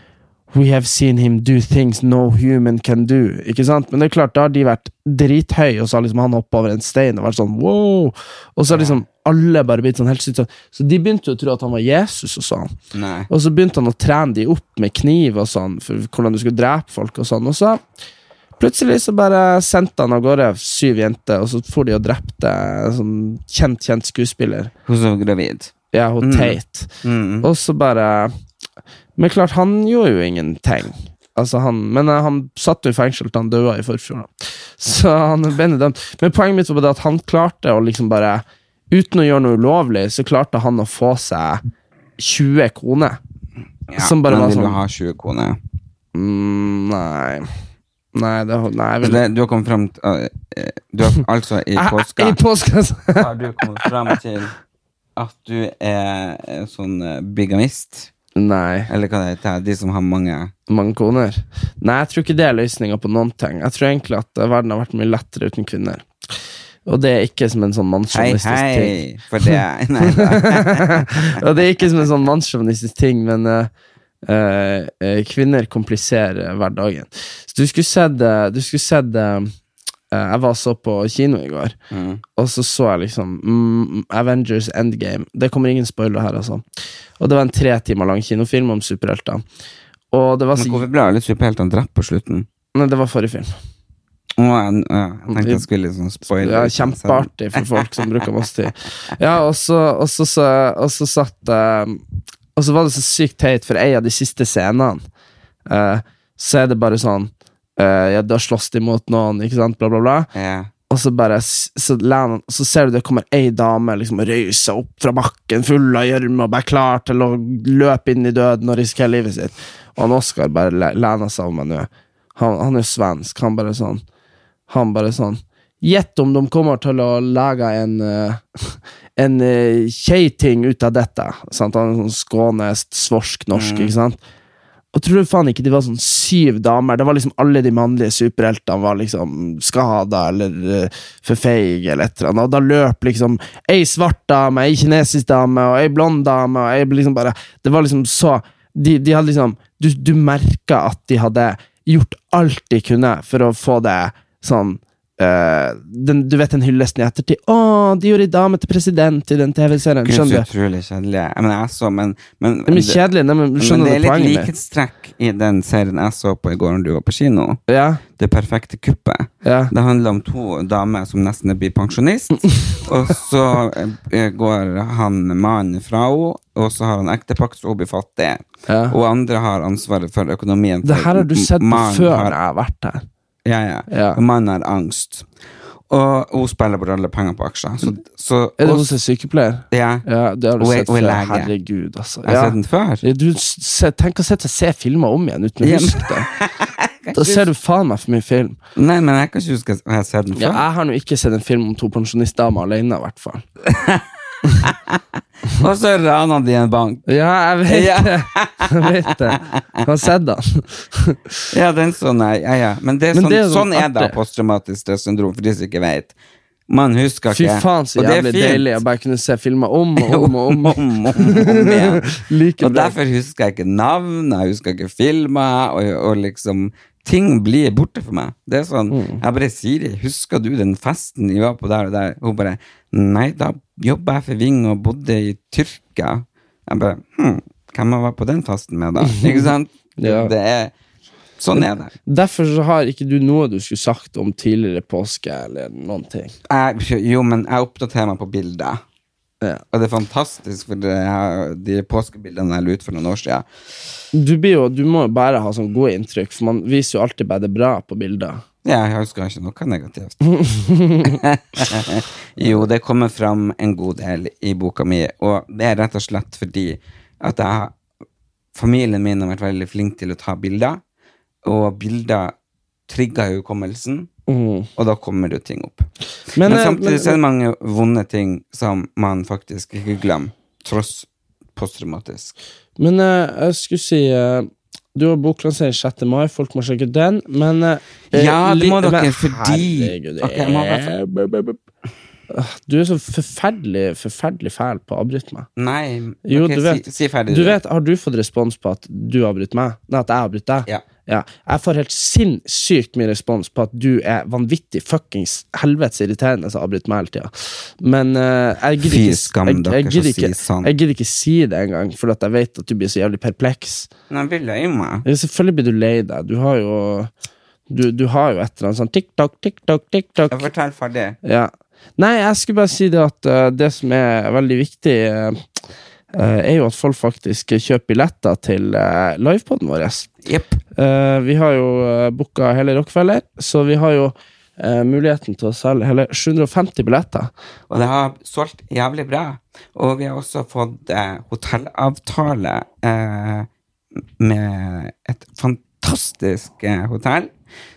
[SPEAKER 1] We have seen him do things no human can do. Ikke sant? Men det er klart, da har de vært drithøye, og så har liksom han hoppa over en stein og vært sånn wow. Og så har liksom alle bare blitt sånn helt sykt sånn. Så de begynte jo å tro at han var Jesus og sånn.
[SPEAKER 2] Nei.
[SPEAKER 1] Og så begynte han å trene de opp med kniv og sånn, for hvordan du skulle drepe folk og sånn. Og så plutselig så bare sendte han av gårde syv jenter, og så for de og drepte en sånn kjent, kjent skuespiller.
[SPEAKER 2] Hun som var gravid.
[SPEAKER 1] Ja, hun Tate.
[SPEAKER 2] Mm.
[SPEAKER 1] Og så bare Men klart, han gjorde jo ingenting. Altså han, men eh, han satt jo i fengsel til han døde i forfjor. da. Så han ble nå dømt. Men poenget mitt var bare det at han klarte å liksom bare Uten å gjøre noe ulovlig, så klarte han å få seg 20 koner.
[SPEAKER 2] Ja,
[SPEAKER 1] Som bare
[SPEAKER 2] men
[SPEAKER 1] var
[SPEAKER 2] vil du
[SPEAKER 1] sånn-
[SPEAKER 2] ha 20 koner?
[SPEAKER 1] Mm, nei Nei, det,
[SPEAKER 2] Så
[SPEAKER 1] nei jeg vil
[SPEAKER 2] Altså, det, du har kommet fram til øh, øh, Du
[SPEAKER 1] [laughs]
[SPEAKER 2] har altså i
[SPEAKER 1] Ah,
[SPEAKER 2] påska
[SPEAKER 1] I påska altså.
[SPEAKER 2] har du kommet fram til at du er eh, sånn eh, bigamist?
[SPEAKER 1] [laughs] Nei,
[SPEAKER 2] Eller hva det heter? De som har mange
[SPEAKER 1] mange koner. Nei, jeg tror ikke det er løsninga på noen ting. Jeg tror egentlig at eh, verden har vært mye lettere uten kvinner. Og det er ikke som en sånn
[SPEAKER 2] Hei,
[SPEAKER 1] mannssjåvinistisk
[SPEAKER 2] hei!
[SPEAKER 1] ting.
[SPEAKER 2] For
[SPEAKER 1] [laughs]
[SPEAKER 2] det Nei da.
[SPEAKER 1] Og det er ikke som en sånn mannssjåvinistisk ting, men eh, eh, eh, kvinner kompliserer hverdagen. Så du skulle sett eh, Du skulle sett eh, eh, Jeg var og så på kino i går,
[SPEAKER 2] Mm.
[SPEAKER 1] og så så jeg liksom mm, Avengers Endgame. Det kommer ingen spoiler her, altså. Og det var en tre timer lang kinofilm om superhelter. Og det var
[SPEAKER 2] Men
[SPEAKER 1] så
[SPEAKER 2] Hvorfor ble alle superheltene drept på slutten?
[SPEAKER 1] Nei, det var forrige film.
[SPEAKER 2] Nå er jeg, ja, jeg tenkte jeg skulle liksom spoile. altså.
[SPEAKER 1] Ja, kjempeartig for folk som bruker masse tid. Ja, og så, og så, så, og så satt eh, Og så var det så sykt teit, for ei av de siste scenene eh, så er det bare sånn eh, Ja, da slåss de mot noen, ikke sant, bla, bla, bla.
[SPEAKER 2] Ja.
[SPEAKER 1] Og så bare s- så, lener han- så ser du det kommer ei dame liksom og røyser opp fra bakken, full av gjørme og bare klar til å løpe inn i døden og risikere livet sitt. Og han Oskar bare le- lener seg over meg nå. Han, han er svensk. Han bare sånn Han bare sånn Gjett om de kommer til å lage en eh, [laughs] En eh, keiting ut av dette. Sant? Han er sånn skånest, svorsk, norsk, ikke sant? Og tror du faen ikke de var sånn syv damer? Det var liksom alle de mannlige superheltene var liksom skada eller uh, for feig eller et eller annet. Og da løp liksom ei svart dame, ei kinesisk dame og ei blond dame og ei liksom bare Det var liksom så De, de hadde liksom Du, du merka at de hadde gjort alt de kunne for å få det sånn eh, den, du vet den hyllesten i ettertid. 'Å, de gjorde ei dame til president i den TV-serien.'
[SPEAKER 2] Gud, så
[SPEAKER 1] Skjønner du?
[SPEAKER 2] utrolig kjedelig. Jeg- Men jeg så, men, men,
[SPEAKER 1] Det er mye kjedelig, nei, men
[SPEAKER 2] men
[SPEAKER 1] skjønner
[SPEAKER 2] det er
[SPEAKER 1] du
[SPEAKER 2] litt
[SPEAKER 1] poenget mitt?
[SPEAKER 2] likhetstrekk i den serien jeg så på i går når du var på kino.
[SPEAKER 1] Ja,
[SPEAKER 2] Det perfekte kuppet.
[SPEAKER 1] ja.
[SPEAKER 2] Det handler om to damer som nesten blir
[SPEAKER 1] [laughs]
[SPEAKER 2] pensjonist. Og så eh, går han mannen fra henne, og så har han ektepakt, så hun blir fattig.
[SPEAKER 1] ja.
[SPEAKER 2] Og andre har ansvaret for økonomien.
[SPEAKER 1] Det her har du sett på
[SPEAKER 2] Mannen
[SPEAKER 1] før
[SPEAKER 2] har-
[SPEAKER 1] jeg har vært her.
[SPEAKER 2] Ja, ja.
[SPEAKER 1] Ja.
[SPEAKER 2] Og mannen har angst. Og hun spiller bort alle pengene på aksjer. Så, så,
[SPEAKER 1] Er det
[SPEAKER 2] og-
[SPEAKER 1] hun som er sykepleier?
[SPEAKER 2] Ja.
[SPEAKER 1] Ja, det har du
[SPEAKER 2] Hun er-
[SPEAKER 1] sett
[SPEAKER 2] hun er lege.
[SPEAKER 1] før. Herregud, altså.
[SPEAKER 2] Jeg har
[SPEAKER 1] Ja.
[SPEAKER 2] sett den før.
[SPEAKER 1] Ja, Du s- se, tenk å sette seg og se filmer om igjen
[SPEAKER 2] Ja,
[SPEAKER 1] uten å
[SPEAKER 2] men-
[SPEAKER 1] huske det.
[SPEAKER 2] [laughs]
[SPEAKER 1] Da ser du faen meg for mye film.
[SPEAKER 2] Nei, men jeg kan ikke huske at jeg har sett den før.
[SPEAKER 1] Ja, jeg har nå ikke sett en film om to pensjonistdamer alene, i hvert fall.
[SPEAKER 2] Og så rana de en bank.
[SPEAKER 1] Ja, jeg vet
[SPEAKER 2] Ja.
[SPEAKER 1] det. Jeg vet det. Jeg har sett den.
[SPEAKER 2] Ja, den så nei. Ja, ja. Men, det er
[SPEAKER 1] Men
[SPEAKER 2] sånn,
[SPEAKER 1] det er sånn
[SPEAKER 2] sånn er det
[SPEAKER 1] artig.
[SPEAKER 2] posttraumatisk stressyndrom, for de som ikke vet. Man husker
[SPEAKER 1] Fy
[SPEAKER 2] ikke.
[SPEAKER 1] faen, så
[SPEAKER 2] Og det er
[SPEAKER 1] jævlig
[SPEAKER 2] fint.
[SPEAKER 1] deilig å bare kunne se filmer om
[SPEAKER 2] [laughs]
[SPEAKER 1] og om og
[SPEAKER 2] om,
[SPEAKER 1] om.
[SPEAKER 2] om, om igjen.
[SPEAKER 1] Like
[SPEAKER 2] og
[SPEAKER 1] bra.
[SPEAKER 2] derfor husker jeg ikke navn, jeg husker ikke filmer, og, og liksom Ting blir borte for meg. Det er sånn, Jeg bare sier 'Husker du den festen vi var på der og der?' Hun bare 'Nei, da jobba jeg for Ving og bodde i Tyrkia'. Jeg bare hm, 'Hvem jeg var på den festen med, da?' Ikke sant?
[SPEAKER 1] Ja.
[SPEAKER 2] Det er, sånn er det.
[SPEAKER 1] Derfor så har ikke du noe du skulle sagt om tidligere påske eller noen ting.
[SPEAKER 2] Jeg, jo, men jeg oppdaterer meg på bilder.
[SPEAKER 1] Ja.
[SPEAKER 2] Og det er fantastisk, for det er, de påskebildene jeg la ut for noen år siden
[SPEAKER 1] Du, blir jo, du må jo bare ha sånn gode inntrykk, for man viser jo alltid bare det bra på bilder.
[SPEAKER 2] ja, Jeg husker ikke noe negativt. [laughs] jo, det kommer fram en god del i boka mi, og det er rett og slett fordi at jeg, familien min har vært veldig flink til å ta bilder, og bilder trigger jo hukommelsen, og da kommer det jo ting opp. Mm. Men,
[SPEAKER 1] eh,
[SPEAKER 2] samtidig så er
[SPEAKER 1] men-
[SPEAKER 2] det mange vonde ting som man faktisk ikke glemmer, tross posttraumatisk.
[SPEAKER 1] Men eh, jeg skulle si eh, Du har boklansering 6. mai, folk må sjekke ut den, men eh,
[SPEAKER 2] Ja, det
[SPEAKER 1] li-
[SPEAKER 2] må dere,
[SPEAKER 1] men
[SPEAKER 2] fordi-
[SPEAKER 1] Herregud, det
[SPEAKER 2] Ok, jeg må bare-
[SPEAKER 1] er- bup, bup, bup. Ah, Du er så forferdelig forferdelig fæl på å avbryte meg.
[SPEAKER 2] Nei,
[SPEAKER 1] Jo,
[SPEAKER 2] ok,
[SPEAKER 1] du vet,
[SPEAKER 2] si, si ferdig.
[SPEAKER 1] du vet, Har du fått respons på at du avbryter meg? Nei, at jeg avbryter deg?
[SPEAKER 2] Ja.
[SPEAKER 1] Jeg får helt sinnssykt mye respons på at du er vanvittig fuckings helvetes irriterende som avbryter meg hele tida. Men eh, jeg gidder
[SPEAKER 2] Fy
[SPEAKER 1] ikke
[SPEAKER 2] skam
[SPEAKER 1] jeg,
[SPEAKER 2] dere
[SPEAKER 1] jeg,
[SPEAKER 2] som
[SPEAKER 1] gidder
[SPEAKER 2] sier
[SPEAKER 1] ikke,
[SPEAKER 2] sånn.
[SPEAKER 1] jeg gidder ikke si det engang, for at jeg vet at du blir så jævlig perpleks.
[SPEAKER 2] Nå vil jeg jo meg.
[SPEAKER 1] Ja, Selvfølgelig blir du lei deg. Du har jo du, du har jo et eller annet sånn TikTok, TikTok, TikTok.
[SPEAKER 2] Jeg forteller ferdig.
[SPEAKER 1] Ja. Nei, jeg skulle bare si det at eh, det som er veldig viktig, eh, eh, er jo at folk faktisk kjøper billetter til uh, livepoden vår.
[SPEAKER 2] Jepp.
[SPEAKER 1] Eh, vi har jo uh, booka hele Rockefeller, så vi har jo eh, muligheten til å selge hele 750 billetter.
[SPEAKER 2] Og det har solgt jævlig bra. Og vi har også fått eh, hotellavtale eh, med et fantastisk eh, hotell.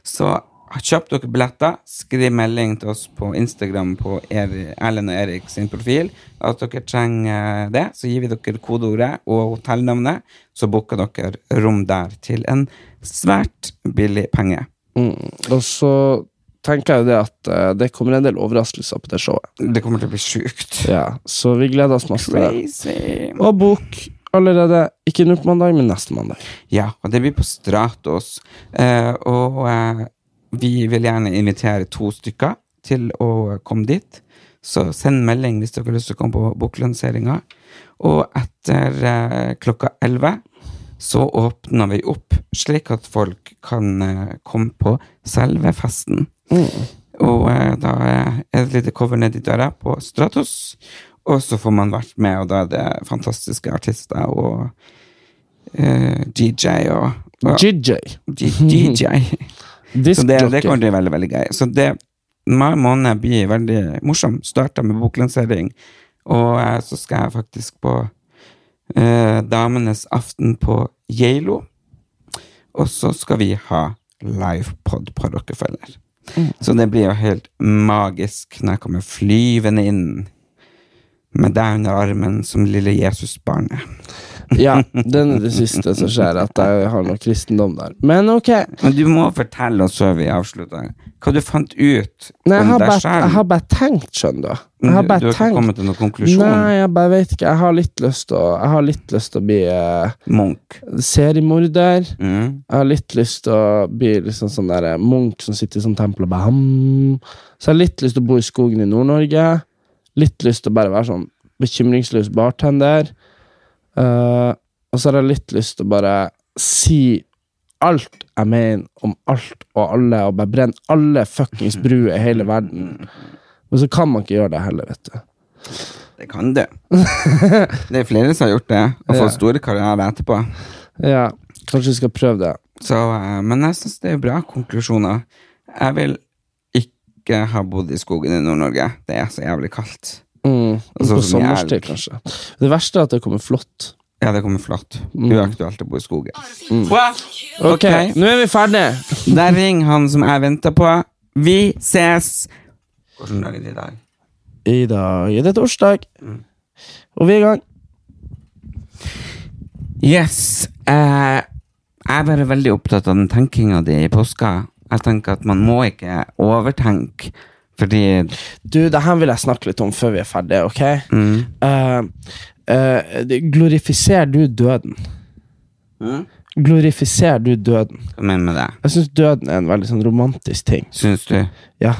[SPEAKER 2] Så kjøp dere billetter. Skriv melding til oss på Instagram på Eri, Erlend og Erik sin profil at dere trenger eh, det. Så gir vi dere kodeordet og hotellnavnet, så booker dere rom der til en svært billig penge.
[SPEAKER 1] Mm, Og så tenker jeg jo det at eh, det kommer en del overraskelser på det showet.
[SPEAKER 2] Det kommer til å bli sjukt.
[SPEAKER 1] Ja, så vi gleder oss masse. til det.
[SPEAKER 2] Crazy.
[SPEAKER 1] Og bok allerede ikke nå på mandag, men neste mandag.
[SPEAKER 2] Ja, og det blir på Stratos. Eh, og eh, vi vil gjerne invitere to stykker til å komme dit. Så send melding hvis dere har lyst til å komme på boklanseringa. Og etter eh, klokka 11 så åpner vi opp, slik at folk kan eh, komme på selve festen. Og eh, da eh, er det et lite cover nedi døra på Stratos, og så får man vært med, og da er det fantastiske artister og eh, DJ og, og
[SPEAKER 1] GJ.
[SPEAKER 2] G- DJ. Så det, det kommer
[SPEAKER 1] Diskjockey.
[SPEAKER 2] til å bli veldig, veldig gøy. Så det, mai måned blir veldig morsom. Starta med boklansering, og eh, så skal jeg faktisk på eh, Damenes aften på Geilo. Og så skal vi ha livepod på Rockefeller.
[SPEAKER 1] Mm.
[SPEAKER 2] Så det blir jo helt magisk når jeg kommer flyvende inn med deg under armen som lille Jesusbarnet.
[SPEAKER 1] Ja, den er det siste som skjer, at jeg har noe kristendom der. Men ok.
[SPEAKER 2] Men du må fortelle oss før vi avslutter, hva du fant ut
[SPEAKER 1] Nei, jeg
[SPEAKER 2] om
[SPEAKER 1] har
[SPEAKER 2] deg
[SPEAKER 1] bare, jeg
[SPEAKER 2] selv.
[SPEAKER 1] har bare tenkt, skjønner du. Jeg
[SPEAKER 2] Men
[SPEAKER 1] har
[SPEAKER 2] du- du
[SPEAKER 1] bare
[SPEAKER 2] har ikke kommet
[SPEAKER 1] tenkt.
[SPEAKER 2] til noen konklusjon?
[SPEAKER 1] Nei, jeg bare vet ikke. Jeg har litt lyst til å, jeg har litt lyst til å bli eh,
[SPEAKER 2] Munch.
[SPEAKER 1] seriemorder.
[SPEAKER 2] Mm.
[SPEAKER 1] Jeg har litt lyst til å bli liksom sånn der munk som sitter i sånn tempel og bare hmm. Så jeg har litt lyst til å bo i skogen i Nord-Norge. Litt lyst til å bare være sånn bekymringsløs bartender. Eh, og så har jeg litt lyst til å bare si alt jeg mener om alt og alle, og bare brenne alle fuckings bruer i hele verden. Men så kan man ikke gjøre det heller, vet du.
[SPEAKER 2] Det kan du. det er flere som har gjort det, og fått
[SPEAKER 1] Ja.
[SPEAKER 2] store karrierer etterpå.
[SPEAKER 1] Ja, Kanskje vi skal prøve det.
[SPEAKER 2] Så, eh, men jeg syns det er bra konklusjoner. Jeg vil ikke ha bodd i skogen i Nord-Norge. Det er så jævlig kaldt.
[SPEAKER 1] Mm.
[SPEAKER 2] Og sånn
[SPEAKER 1] På
[SPEAKER 2] som jeg-
[SPEAKER 1] sommerstid, kanskje. Det verste er at det kommer flått.
[SPEAKER 2] Ja, det kommer flott. Uaktuelt å bo i skogen.
[SPEAKER 1] Ok, nå er vi ferdige.
[SPEAKER 2] Der ringer han som jeg venter på. Vi ses! Hvordan dag er det i dag?
[SPEAKER 1] I dag er det torsdag, og vi er i gang.
[SPEAKER 2] Yes. Eh, jeg er bare veldig opptatt av den tenkinga di i påska. Jeg tenker at man må ikke overtenke, fordi
[SPEAKER 1] Du, det her vil jeg snakke litt om før vi er ferdige, ok?
[SPEAKER 2] mm.
[SPEAKER 1] Eh, eh, det- glorifiserer du døden? Glorifiserer du døden?
[SPEAKER 2] Mm? Hva mener du med det?
[SPEAKER 1] Jeg syns døden er en veldig sånn romantisk ting.
[SPEAKER 2] Syns du?
[SPEAKER 1] Ja,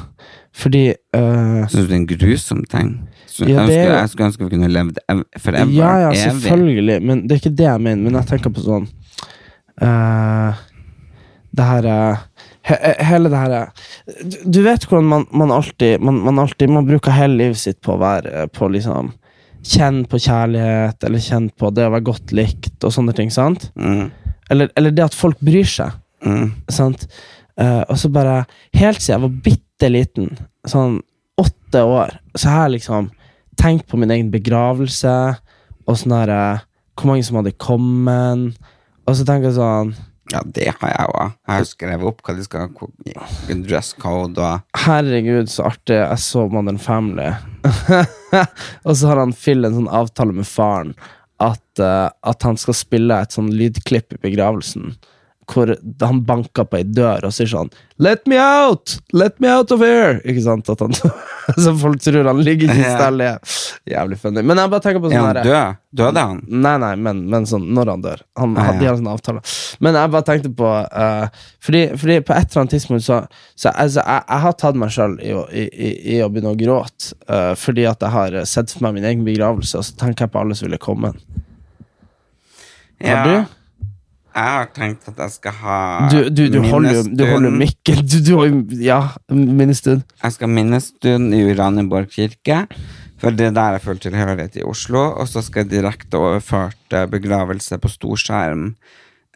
[SPEAKER 1] fordi eh,
[SPEAKER 2] Syns du det er en grusom ting? Så
[SPEAKER 1] Ja,
[SPEAKER 2] jeg,
[SPEAKER 1] det er
[SPEAKER 2] skulle,
[SPEAKER 1] jo-
[SPEAKER 2] jeg skulle ønske vi kunne levd ev- forever.
[SPEAKER 1] Ja, ja,
[SPEAKER 2] evig.
[SPEAKER 1] selvfølgelig, men det er ikke det jeg mener. Men jeg tenker på sånn eh, Det her eh, he, he- Hele det her eh, du, du vet hvordan man, man alltid man, man alltid Man bruker hele livet sitt på å være eh, på liksom Kjenn på kjærlighet, eller kjenn på det å være godt likt, og sånne ting. sant?
[SPEAKER 2] Mm,
[SPEAKER 1] Eller, eller det at folk bryr seg.
[SPEAKER 2] mm,
[SPEAKER 1] sant? Eh, og så bare Helt siden jeg var bitte liten, sånn åtte år, så har jeg liksom tenkt på min egen begravelse, og sånn her eh, Hvor mange som hadde kommet. Og så tenker jeg sånn
[SPEAKER 2] ja, det har jeg òg. Jeg har skrevet opp hva de skal ko- i- dress code og
[SPEAKER 1] Herregud, så artig. Jeg så Modern Family. [laughs] og så har han Phil en sånn avtale med faren at, eh, at han skal spille et sånn lydklipp i begravelsen. Hvor han banker på ei dør og sier sånn 'Let me out! Let me out of here!' Ikke sant? At han, [laughs] så folk tror han ligger i
[SPEAKER 2] Ja.
[SPEAKER 1] stallet. Jævlig funny. Men jeg bare tenker på
[SPEAKER 2] Er
[SPEAKER 1] sånn
[SPEAKER 2] han
[SPEAKER 1] her-
[SPEAKER 2] død? Døde han?
[SPEAKER 1] Nei, nei, men, men sånn, når han dør. Han
[SPEAKER 2] Ah,
[SPEAKER 1] hadde
[SPEAKER 2] ja.
[SPEAKER 1] en sånn avtale. Men jeg bare tenkte på eh, fordi, fordi på et eller annet tidspunkt så, så altså, jeg, jeg har tatt meg sjøl i, å- i, i, i å begynne å gråte eh, fordi at jeg har eh, sett for meg min egen begravelse, og så tenker jeg på alle som ville komme. Har du?
[SPEAKER 2] Jeg har tenkt at jeg skal ha
[SPEAKER 1] Du, du, du holder jo du holder jo
[SPEAKER 2] minnestund.
[SPEAKER 1] mikken. Du, du har jo Ja,
[SPEAKER 2] [laughs]
[SPEAKER 1] minnestund.
[SPEAKER 2] Jeg skal minnestund i Uranienborg kirke, for det er der jeg føler tilhørighet i Oslo. Og så skal jeg direkte overført eh, begravelse på storskjerm.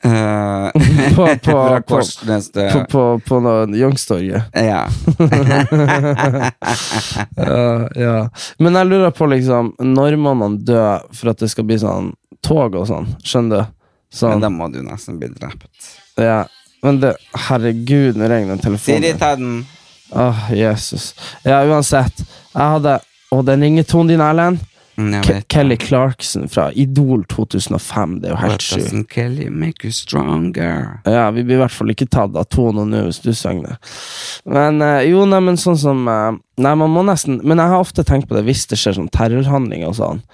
[SPEAKER 2] Uh,
[SPEAKER 1] [laughs] På, på,
[SPEAKER 2] fra
[SPEAKER 1] på,
[SPEAKER 2] Korsnes til
[SPEAKER 1] på, på, på noe- Youngstorget.
[SPEAKER 2] Ja.
[SPEAKER 1] [laughs] Ja, ja. Men jeg lurer på liksom Når må man dø for at det skal bli sånn tog og sånn? Skjønner du?
[SPEAKER 2] Men
[SPEAKER 1] Sånn,
[SPEAKER 2] da må du nesten bli drept.
[SPEAKER 1] ja. Men det Herregud, nå ringer den
[SPEAKER 2] Siri,
[SPEAKER 1] telefonen.
[SPEAKER 2] ta den.
[SPEAKER 1] Åh, Jesus. Ja, uansett. Jeg hadde Å, den ringetonen din, Erlend.
[SPEAKER 2] Mm, jeg
[SPEAKER 1] Ke
[SPEAKER 2] vet.
[SPEAKER 1] Kelly Clarkson fra Idol 2005. Det er jo
[SPEAKER 2] What
[SPEAKER 1] helt sjukt.
[SPEAKER 2] doesn't kill you make you stronger.
[SPEAKER 1] Ja, vi blir i hvert fall ikke tatt av tonen nå hvis du synger det. Men eh, jo, nei, men sånn som eh, Nei, man må nesten Men jeg har ofte tenkt på det hvis det skjer sånn terrorhandlinger og sånn.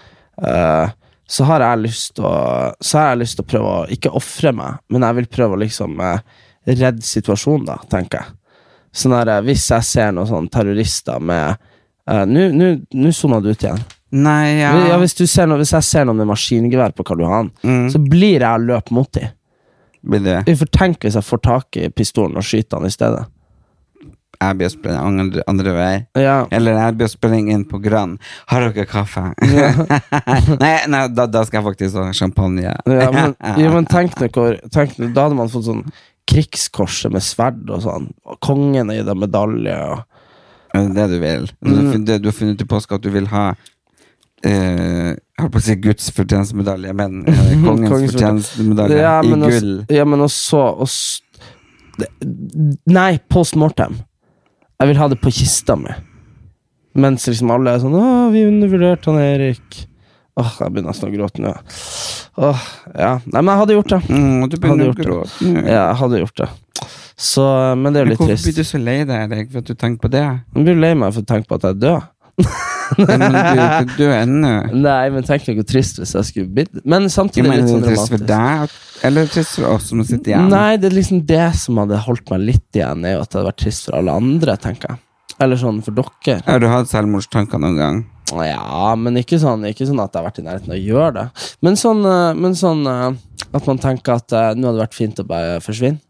[SPEAKER 1] eh, så har jeg lyst til å Så har jeg lyst til å prøve å ikke ofre meg, men jeg vil prøve å liksom eh, redde situasjonen, da, tenker jeg. Sånn der, eh, Hvis jeg ser noen sånne terrorister med eh, Nå nå- nå sona du ut igjen.
[SPEAKER 2] Nei, ja.
[SPEAKER 1] Ja, hvis, du ser noe, hvis jeg ser noen med maskingevær på Karl Johan, så blir jeg og løper mot dem.
[SPEAKER 2] Blir det
[SPEAKER 1] For tenk hvis jeg får tak i pistolen og skyter han i stedet.
[SPEAKER 2] jeg blir å springe andre, andre vei.
[SPEAKER 1] Ja.
[SPEAKER 2] Eller jeg blir å springe inn på Gran. Har dere kaffe? [laughs] nei, nei da, da skal jeg faktisk ha champagne. [laughs]
[SPEAKER 1] Ja, men, ja, men tenk deg hvor tenk, deg- Da hadde man fått sånn krigskorset med sverd og sånn. Og kongen er gitt en medalje. Og,
[SPEAKER 2] Men Det du vil. Du,
[SPEAKER 1] Mm.
[SPEAKER 2] har fun- det, du har funnet ut i påske at du vil ha eh, Jeg holdt på å si Guds fortjenestemedalje, men
[SPEAKER 1] [laughs]
[SPEAKER 2] eh, kongens,
[SPEAKER 1] Kongens
[SPEAKER 2] fortjenestemedalje
[SPEAKER 1] ja,
[SPEAKER 2] i
[SPEAKER 1] men altså- også-
[SPEAKER 2] gull.
[SPEAKER 1] Ja, men også, også det- Nei, post mortem. Jeg vil ha det på kista mi. Mens liksom alle er sånn Å, vi undervurderte han Erik. Åh, jeg begynner nesten å gråte nå. Åh, ja. Nei, men jeg hadde gjort det.
[SPEAKER 2] Mm, og du
[SPEAKER 1] Hadde
[SPEAKER 2] begynner å
[SPEAKER 1] gjort det.
[SPEAKER 2] gråte. nå.
[SPEAKER 1] Ja, jeg hadde gjort det. Så, men det er jo
[SPEAKER 2] Men
[SPEAKER 1] litt
[SPEAKER 2] Hvorfor blir
[SPEAKER 1] trist.
[SPEAKER 2] du så lei deg, Erik, for at du tenker på det?
[SPEAKER 1] Jeg blir lei meg for å tenke på at jeg er død.
[SPEAKER 2] Nei, Men du
[SPEAKER 1] [laughs]
[SPEAKER 2] er jo ikke død ennå.
[SPEAKER 1] Nei, men tenk deg hvor trist hvis jeg skulle blitt Men
[SPEAKER 2] Jeg
[SPEAKER 1] samtidig
[SPEAKER 2] mener,
[SPEAKER 1] litt
[SPEAKER 2] er
[SPEAKER 1] sånn
[SPEAKER 2] det trist for
[SPEAKER 1] dramatisk.
[SPEAKER 2] deg, eller trist for oss som sitter igjen?
[SPEAKER 1] Nei, det er liksom det som hadde holdt meg litt igjen, er jo at det hadde vært trist for alle andre, tenker jeg. Eller sånn for dere.
[SPEAKER 2] Har du hatt selvmordstanker noen gang?
[SPEAKER 1] Ja, men ikke sånn, ikke sånn at jeg har vært i nærheten av å gjøre det. Men sånn, eh, men sånn eh, at man tenker at eh, nå hadde det vært fint å bare forsvinne.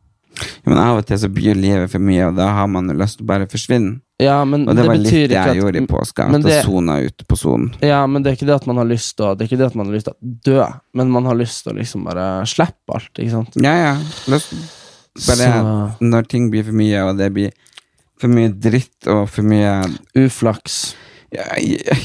[SPEAKER 2] Ja, men Av og til så byr livet for mye, og da har man jo lyst til å bare forsvinne.
[SPEAKER 1] Ja, men
[SPEAKER 2] Og det,
[SPEAKER 1] det,
[SPEAKER 2] var litt
[SPEAKER 1] betyr
[SPEAKER 2] det
[SPEAKER 1] ikke
[SPEAKER 2] jeg
[SPEAKER 1] at
[SPEAKER 2] gjorde i påska.
[SPEAKER 1] men
[SPEAKER 2] At jeg
[SPEAKER 1] det-
[SPEAKER 2] sona ut på sonen.
[SPEAKER 1] Ja, men det er ikke det at man har lyst til å, det er ikke det at man har lyst til å dø, men man har lyst til å liksom bare slippe alt, ikke sant?
[SPEAKER 2] Ja, ja. Lyst. Bare
[SPEAKER 1] Så-
[SPEAKER 2] når ting blir for mye, og det blir for mye dritt og for mye
[SPEAKER 1] Uflaks.
[SPEAKER 2] Ja,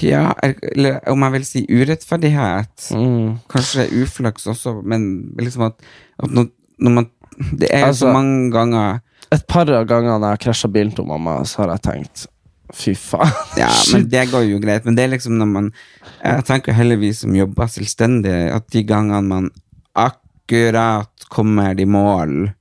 [SPEAKER 2] ja eller om jeg vil si urettferdighet.
[SPEAKER 1] Mm.
[SPEAKER 2] Kanskje uflaks også, men liksom at, at når, når man Det er jo
[SPEAKER 1] Altså-
[SPEAKER 2] så mange ganger
[SPEAKER 1] Et par av gangene jeg har krasja bilen til mamma, så har jeg tenkt Fy faen. [laughs]
[SPEAKER 2] Ja, men det går jo greit. Men det er liksom når man Jeg tenker heller vi som jobber selvstendig, at de gangene man akkurat kommer i mål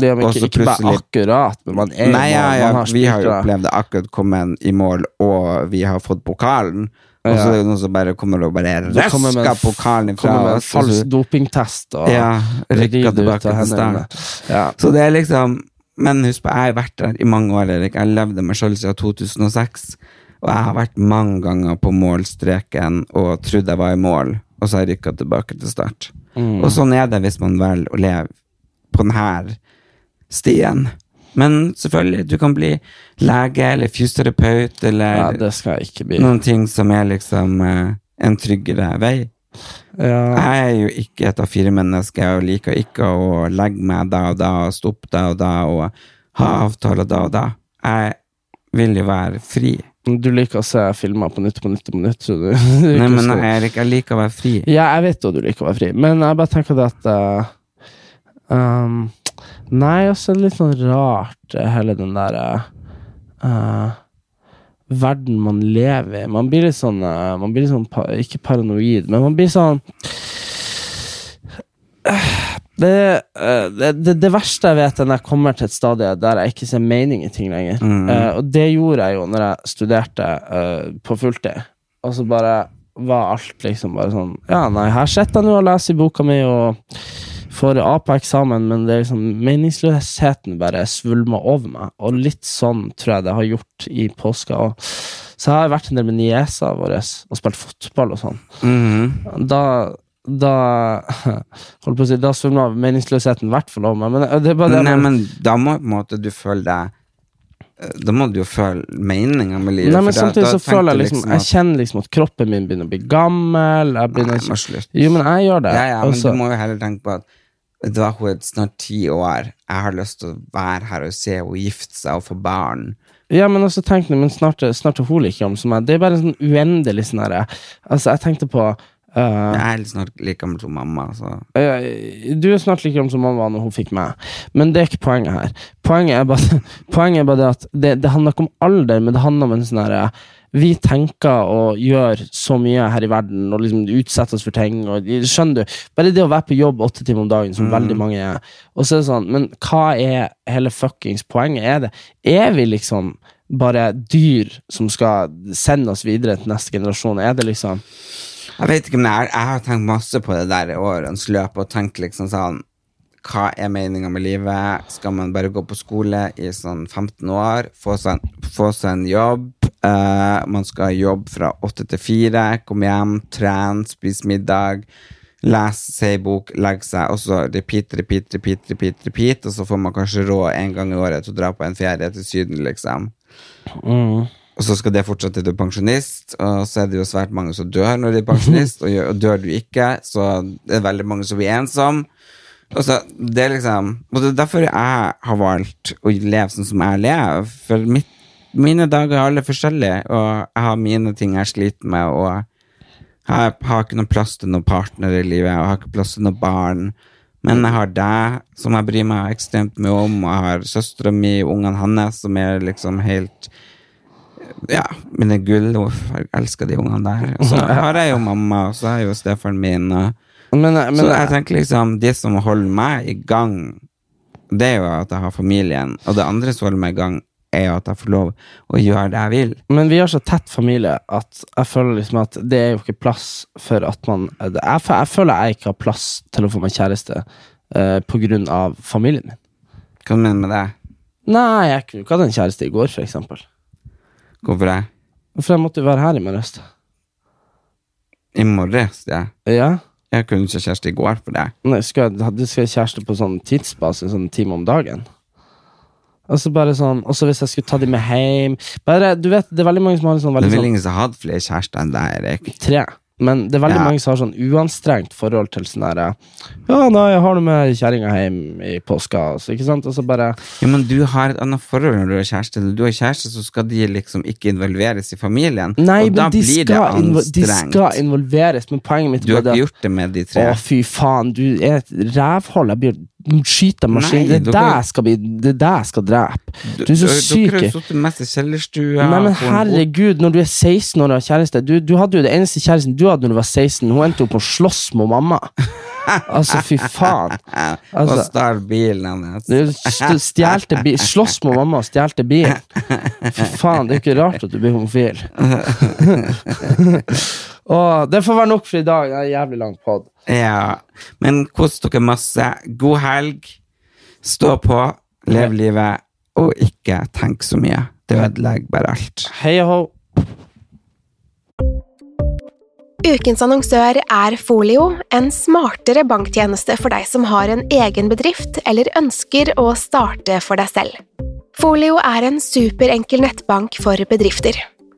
[SPEAKER 1] Det er jo
[SPEAKER 2] Og
[SPEAKER 1] ikke,
[SPEAKER 2] så
[SPEAKER 1] ikke bare
[SPEAKER 2] plutselig-
[SPEAKER 1] akkurat, men man er
[SPEAKER 2] Nei, ja,
[SPEAKER 1] man-
[SPEAKER 2] ja,
[SPEAKER 1] man har
[SPEAKER 2] vi har jo
[SPEAKER 1] spilt det.
[SPEAKER 2] opplevd det akkurat kommet i mål, og vi har fått pokalen. Og
[SPEAKER 1] Ja.
[SPEAKER 2] så er det jo noen som bare kommer og bare
[SPEAKER 1] Så kommer med
[SPEAKER 2] røsker
[SPEAKER 1] en f-
[SPEAKER 2] pokalen ifra
[SPEAKER 1] Kommer altså, med en
[SPEAKER 2] oss. og
[SPEAKER 1] falsk
[SPEAKER 2] så-
[SPEAKER 1] dopingtest og
[SPEAKER 2] Ja,
[SPEAKER 1] rider
[SPEAKER 2] rykker
[SPEAKER 1] ut
[SPEAKER 2] tilbake
[SPEAKER 1] av
[SPEAKER 2] til
[SPEAKER 1] hendene.
[SPEAKER 2] start.
[SPEAKER 1] Ja.
[SPEAKER 2] Så det er liksom Men husk på, jeg har vært der i mange år, Erik. Jeg levde meg sjøl siden 2006. Og jeg har vært mange ganger på målstreken og trodd jeg var i mål, og så har jeg rykka tilbake til start.
[SPEAKER 1] Mm.
[SPEAKER 2] Og sånn er det hvis man velger å leve på denne stien. Men selvfølgelig, du kan bli lege eller fysioterapeut eller
[SPEAKER 1] ja, det skal jeg ikke bli.
[SPEAKER 2] noen ting som er liksom eh, en tryggere vei.
[SPEAKER 1] Ja.
[SPEAKER 2] Jeg er jo ikke et av fire mennesker og liker ikke å legge meg da og da og stoppe da og da og ha avtaler da og da. Jeg vil jo være fri.
[SPEAKER 1] Du liker å se filmer på nytt på nytt på nytt, så du, [laughs] du er
[SPEAKER 2] Nei,
[SPEAKER 1] ikke
[SPEAKER 2] men
[SPEAKER 1] så-
[SPEAKER 2] Erik, jeg liker å være fri.
[SPEAKER 1] Ja, jeg vet jo du liker å være fri, men jeg bare tenker det at eh, um, Nei, også litt sånn rart, eh, hele den der eh, eh, verden man lever i. Man blir litt sånn, eh, man blir litt sånn pa Ikke paranoid, men man blir sånn Eh, det, eh, det, det, det verste jeg vet, er når jeg kommer til et stadie der jeg ikke ser mening i ting lenger. Eh, og det gjorde jeg jo når jeg studerte eh, på fulltid. Og så bare var alt liksom bare sånn Ja, nei, her sitter jeg nå og leser i boka mi og får A på eksamen, men det er liksom meningsløsheten bare svulmer over meg. Og litt sånn tror jeg det har gjort i påska òg. Så jeg har vært en del med niesa vår og spilt fotball og sånn
[SPEAKER 2] Mhm.
[SPEAKER 1] da da holdt på å si, da svømmer av meningsløsheten i hvert fall over meg. Men det er bare det
[SPEAKER 2] Nei,
[SPEAKER 1] med-
[SPEAKER 2] men da må på en måte du føle deg eh, Da må du jo føle meninga med livet.
[SPEAKER 1] Nei, men
[SPEAKER 2] for da-
[SPEAKER 1] samtidig
[SPEAKER 2] da
[SPEAKER 1] så
[SPEAKER 2] tenker
[SPEAKER 1] føler jeg
[SPEAKER 2] du
[SPEAKER 1] liksom
[SPEAKER 2] at-
[SPEAKER 1] Jeg kjenner liksom at kroppen min begynner å bli gammel. Jeg begynner
[SPEAKER 2] Nei,
[SPEAKER 1] ikke-
[SPEAKER 2] må slutt.
[SPEAKER 1] Jo, men jeg gjør det.
[SPEAKER 2] Ja, ja, men
[SPEAKER 1] altså.
[SPEAKER 2] du må jo heller tenke på at Vet du hva, hun er snart ti år. Jeg har lyst til å være her og se henne gifte seg og få barn.
[SPEAKER 1] Ja, men også tenk nå, men snart, er- snart er hun like gammel som meg. Det er bare en sånn uendelig sånn herre Altså, jeg tenkte på eh,
[SPEAKER 2] Jeg er snart like gammel som mamma, så
[SPEAKER 1] eh, Du er snart like gammel som mamma var når hun fikk meg, men det er ikke poenget her. Poenget er bare, [laughs] poenget er bare det at det, det handler ikke om alder, men det handler om en sånn herre vi tenker og gjør så mye her i verden og liksom utsetter oss for ting. Og, skjønner du? Bare det å være på jobb åtte timer om dagen,
[SPEAKER 2] Mm.
[SPEAKER 1] som veldig mange er. Og så er det sånn, Men hva er hele fuckings poenget? Er, det, er vi liksom bare dyr som skal sende oss videre til neste generasjon? Er det liksom
[SPEAKER 2] Jeg vet ikke, men jeg, jeg har tenkt masse på det der i årens løp, og tenkt liksom sånn Hva er meninga med livet? Skal man bare gå på skole i sånn 15 år? Få seg en, få seg en jobb? eh, man skal jobbe fra åtte til fire, komme hjem, trene, spise middag. lese, se ei bok, legge seg, og så repeat, repeat, repeat, repeat, repeat, og så får man kanskje råd en gang i året til å dra på en ferie til Syden, liksom. Og så skal det fortsette til du er pensjonist, og så er det jo svært mange som dør når de er pensjonist, og, gjør- og dør du ikke, så det er veldig mange som blir ensomme. Og så, det er liksom, og det er derfor jeg har valgt å leve sånn som jeg lever, for mitt, mine dager er alle forskjellige, og jeg har mine ting jeg sliter med, og jeg har ikke noen plass til noen partner i livet, jeg har ikke plass til noen barn. Men jeg har deg, som jeg bryr meg ekstremt mye om, og jeg har søstera mi og ungene hans, som er liksom helt Ja, mine gull. Uff, jeg elsker de ungene der. Og så har jeg jo mamma, og så har jeg jo stefaren min. og
[SPEAKER 1] Men, eh, men
[SPEAKER 2] så jeg tenker liksom, det som holder meg i gang, det er jo at jeg har familien. Og det andre som holder meg i gang, er jo at jeg får lov å gjøre det jeg vil.
[SPEAKER 1] Men vi har så tett familie at jeg føler liksom at det er jo ikke plass for at man Jeg, fø- jeg føler jeg ikke har plass til å få meg kjæreste eh, på grunn av familien min.
[SPEAKER 2] Hva mener du med det?
[SPEAKER 1] Nei, jeg kunne ikke hatt en kjæreste i går, for eksempel.
[SPEAKER 2] Hvorfor det?
[SPEAKER 1] For jeg måtte jo være her i morges.
[SPEAKER 2] I morges, ja.
[SPEAKER 1] Ja?
[SPEAKER 2] Jeg kunne ikke kjæreste i går for det.
[SPEAKER 1] Nei, skal jeg hadde- skal jeg kjæreste på sånn tidsbase, sånn time om dagen. Og så bare sånn, og så hvis jeg skulle ta de med hjem bare, Du vet, det er veldig mange som har en sånn
[SPEAKER 2] Det
[SPEAKER 1] veldig
[SPEAKER 2] er vel
[SPEAKER 1] sånn
[SPEAKER 2] ingen som har hatt flere kjærester enn deg, Erik.
[SPEAKER 1] tre. Men det er veldig
[SPEAKER 2] Ja.
[SPEAKER 1] mange som har sånn uanstrengt forhold til sånn herre Ja, nei, jeg har det med kjerringa hjem i påska, altså, ikke sant? Og så bare
[SPEAKER 2] Ja, men du har et annet forhold når du har kjæreste. Når du har kjæreste, så skal de liksom ikke involveres i familien.
[SPEAKER 1] Nei,
[SPEAKER 2] og da
[SPEAKER 1] men de
[SPEAKER 2] blir det
[SPEAKER 1] skal, invo de
[SPEAKER 2] anstrengt.
[SPEAKER 1] skal involveres, men poenget mitt
[SPEAKER 2] Du har
[SPEAKER 1] var det
[SPEAKER 2] ikke
[SPEAKER 1] at-
[SPEAKER 2] gjort det med de
[SPEAKER 1] Å,
[SPEAKER 2] tre.
[SPEAKER 1] fy faen, du er et rævhold. Jeg blir skyter av
[SPEAKER 2] Nei,
[SPEAKER 1] maskin. Det er
[SPEAKER 2] dere-
[SPEAKER 1] deg jeg skal bli Det er deg jeg skal drepe. Du er så
[SPEAKER 2] Dere
[SPEAKER 1] syk.
[SPEAKER 2] har
[SPEAKER 1] i-
[SPEAKER 2] jo sittet mest i kjellerstua.
[SPEAKER 1] Nei, men
[SPEAKER 2] på en båt.
[SPEAKER 1] herregud, når du er 16 år og har kjæreste du, du hadde jo det eneste kjæresten du hadde når du var 16. Hun endte opp med å slåss
[SPEAKER 2] [laughs]
[SPEAKER 1] med mamma. Altså, fy faen.
[SPEAKER 2] og
[SPEAKER 1] Altså,
[SPEAKER 2] stjal bilen hennes.
[SPEAKER 1] du st- stjelte bil Slåss med mamma og stjelte bilen. Fy faen, det er jo ikke rart at du blir homofil. Åh, det får være nok for i dag. Det er en jævlig lang pod.
[SPEAKER 2] Ja. Men kos dere masse. God helg. Stå på, lev livet, og ikke tenk så mye. Det ødelegger bare alt.
[SPEAKER 1] Hei og hå.
[SPEAKER 3] Ukens annonsør er Folio, en smartere banktjeneste for deg som har en egen bedrift eller ønsker å starte for deg selv. Folio er en superenkel nettbank for bedrifter.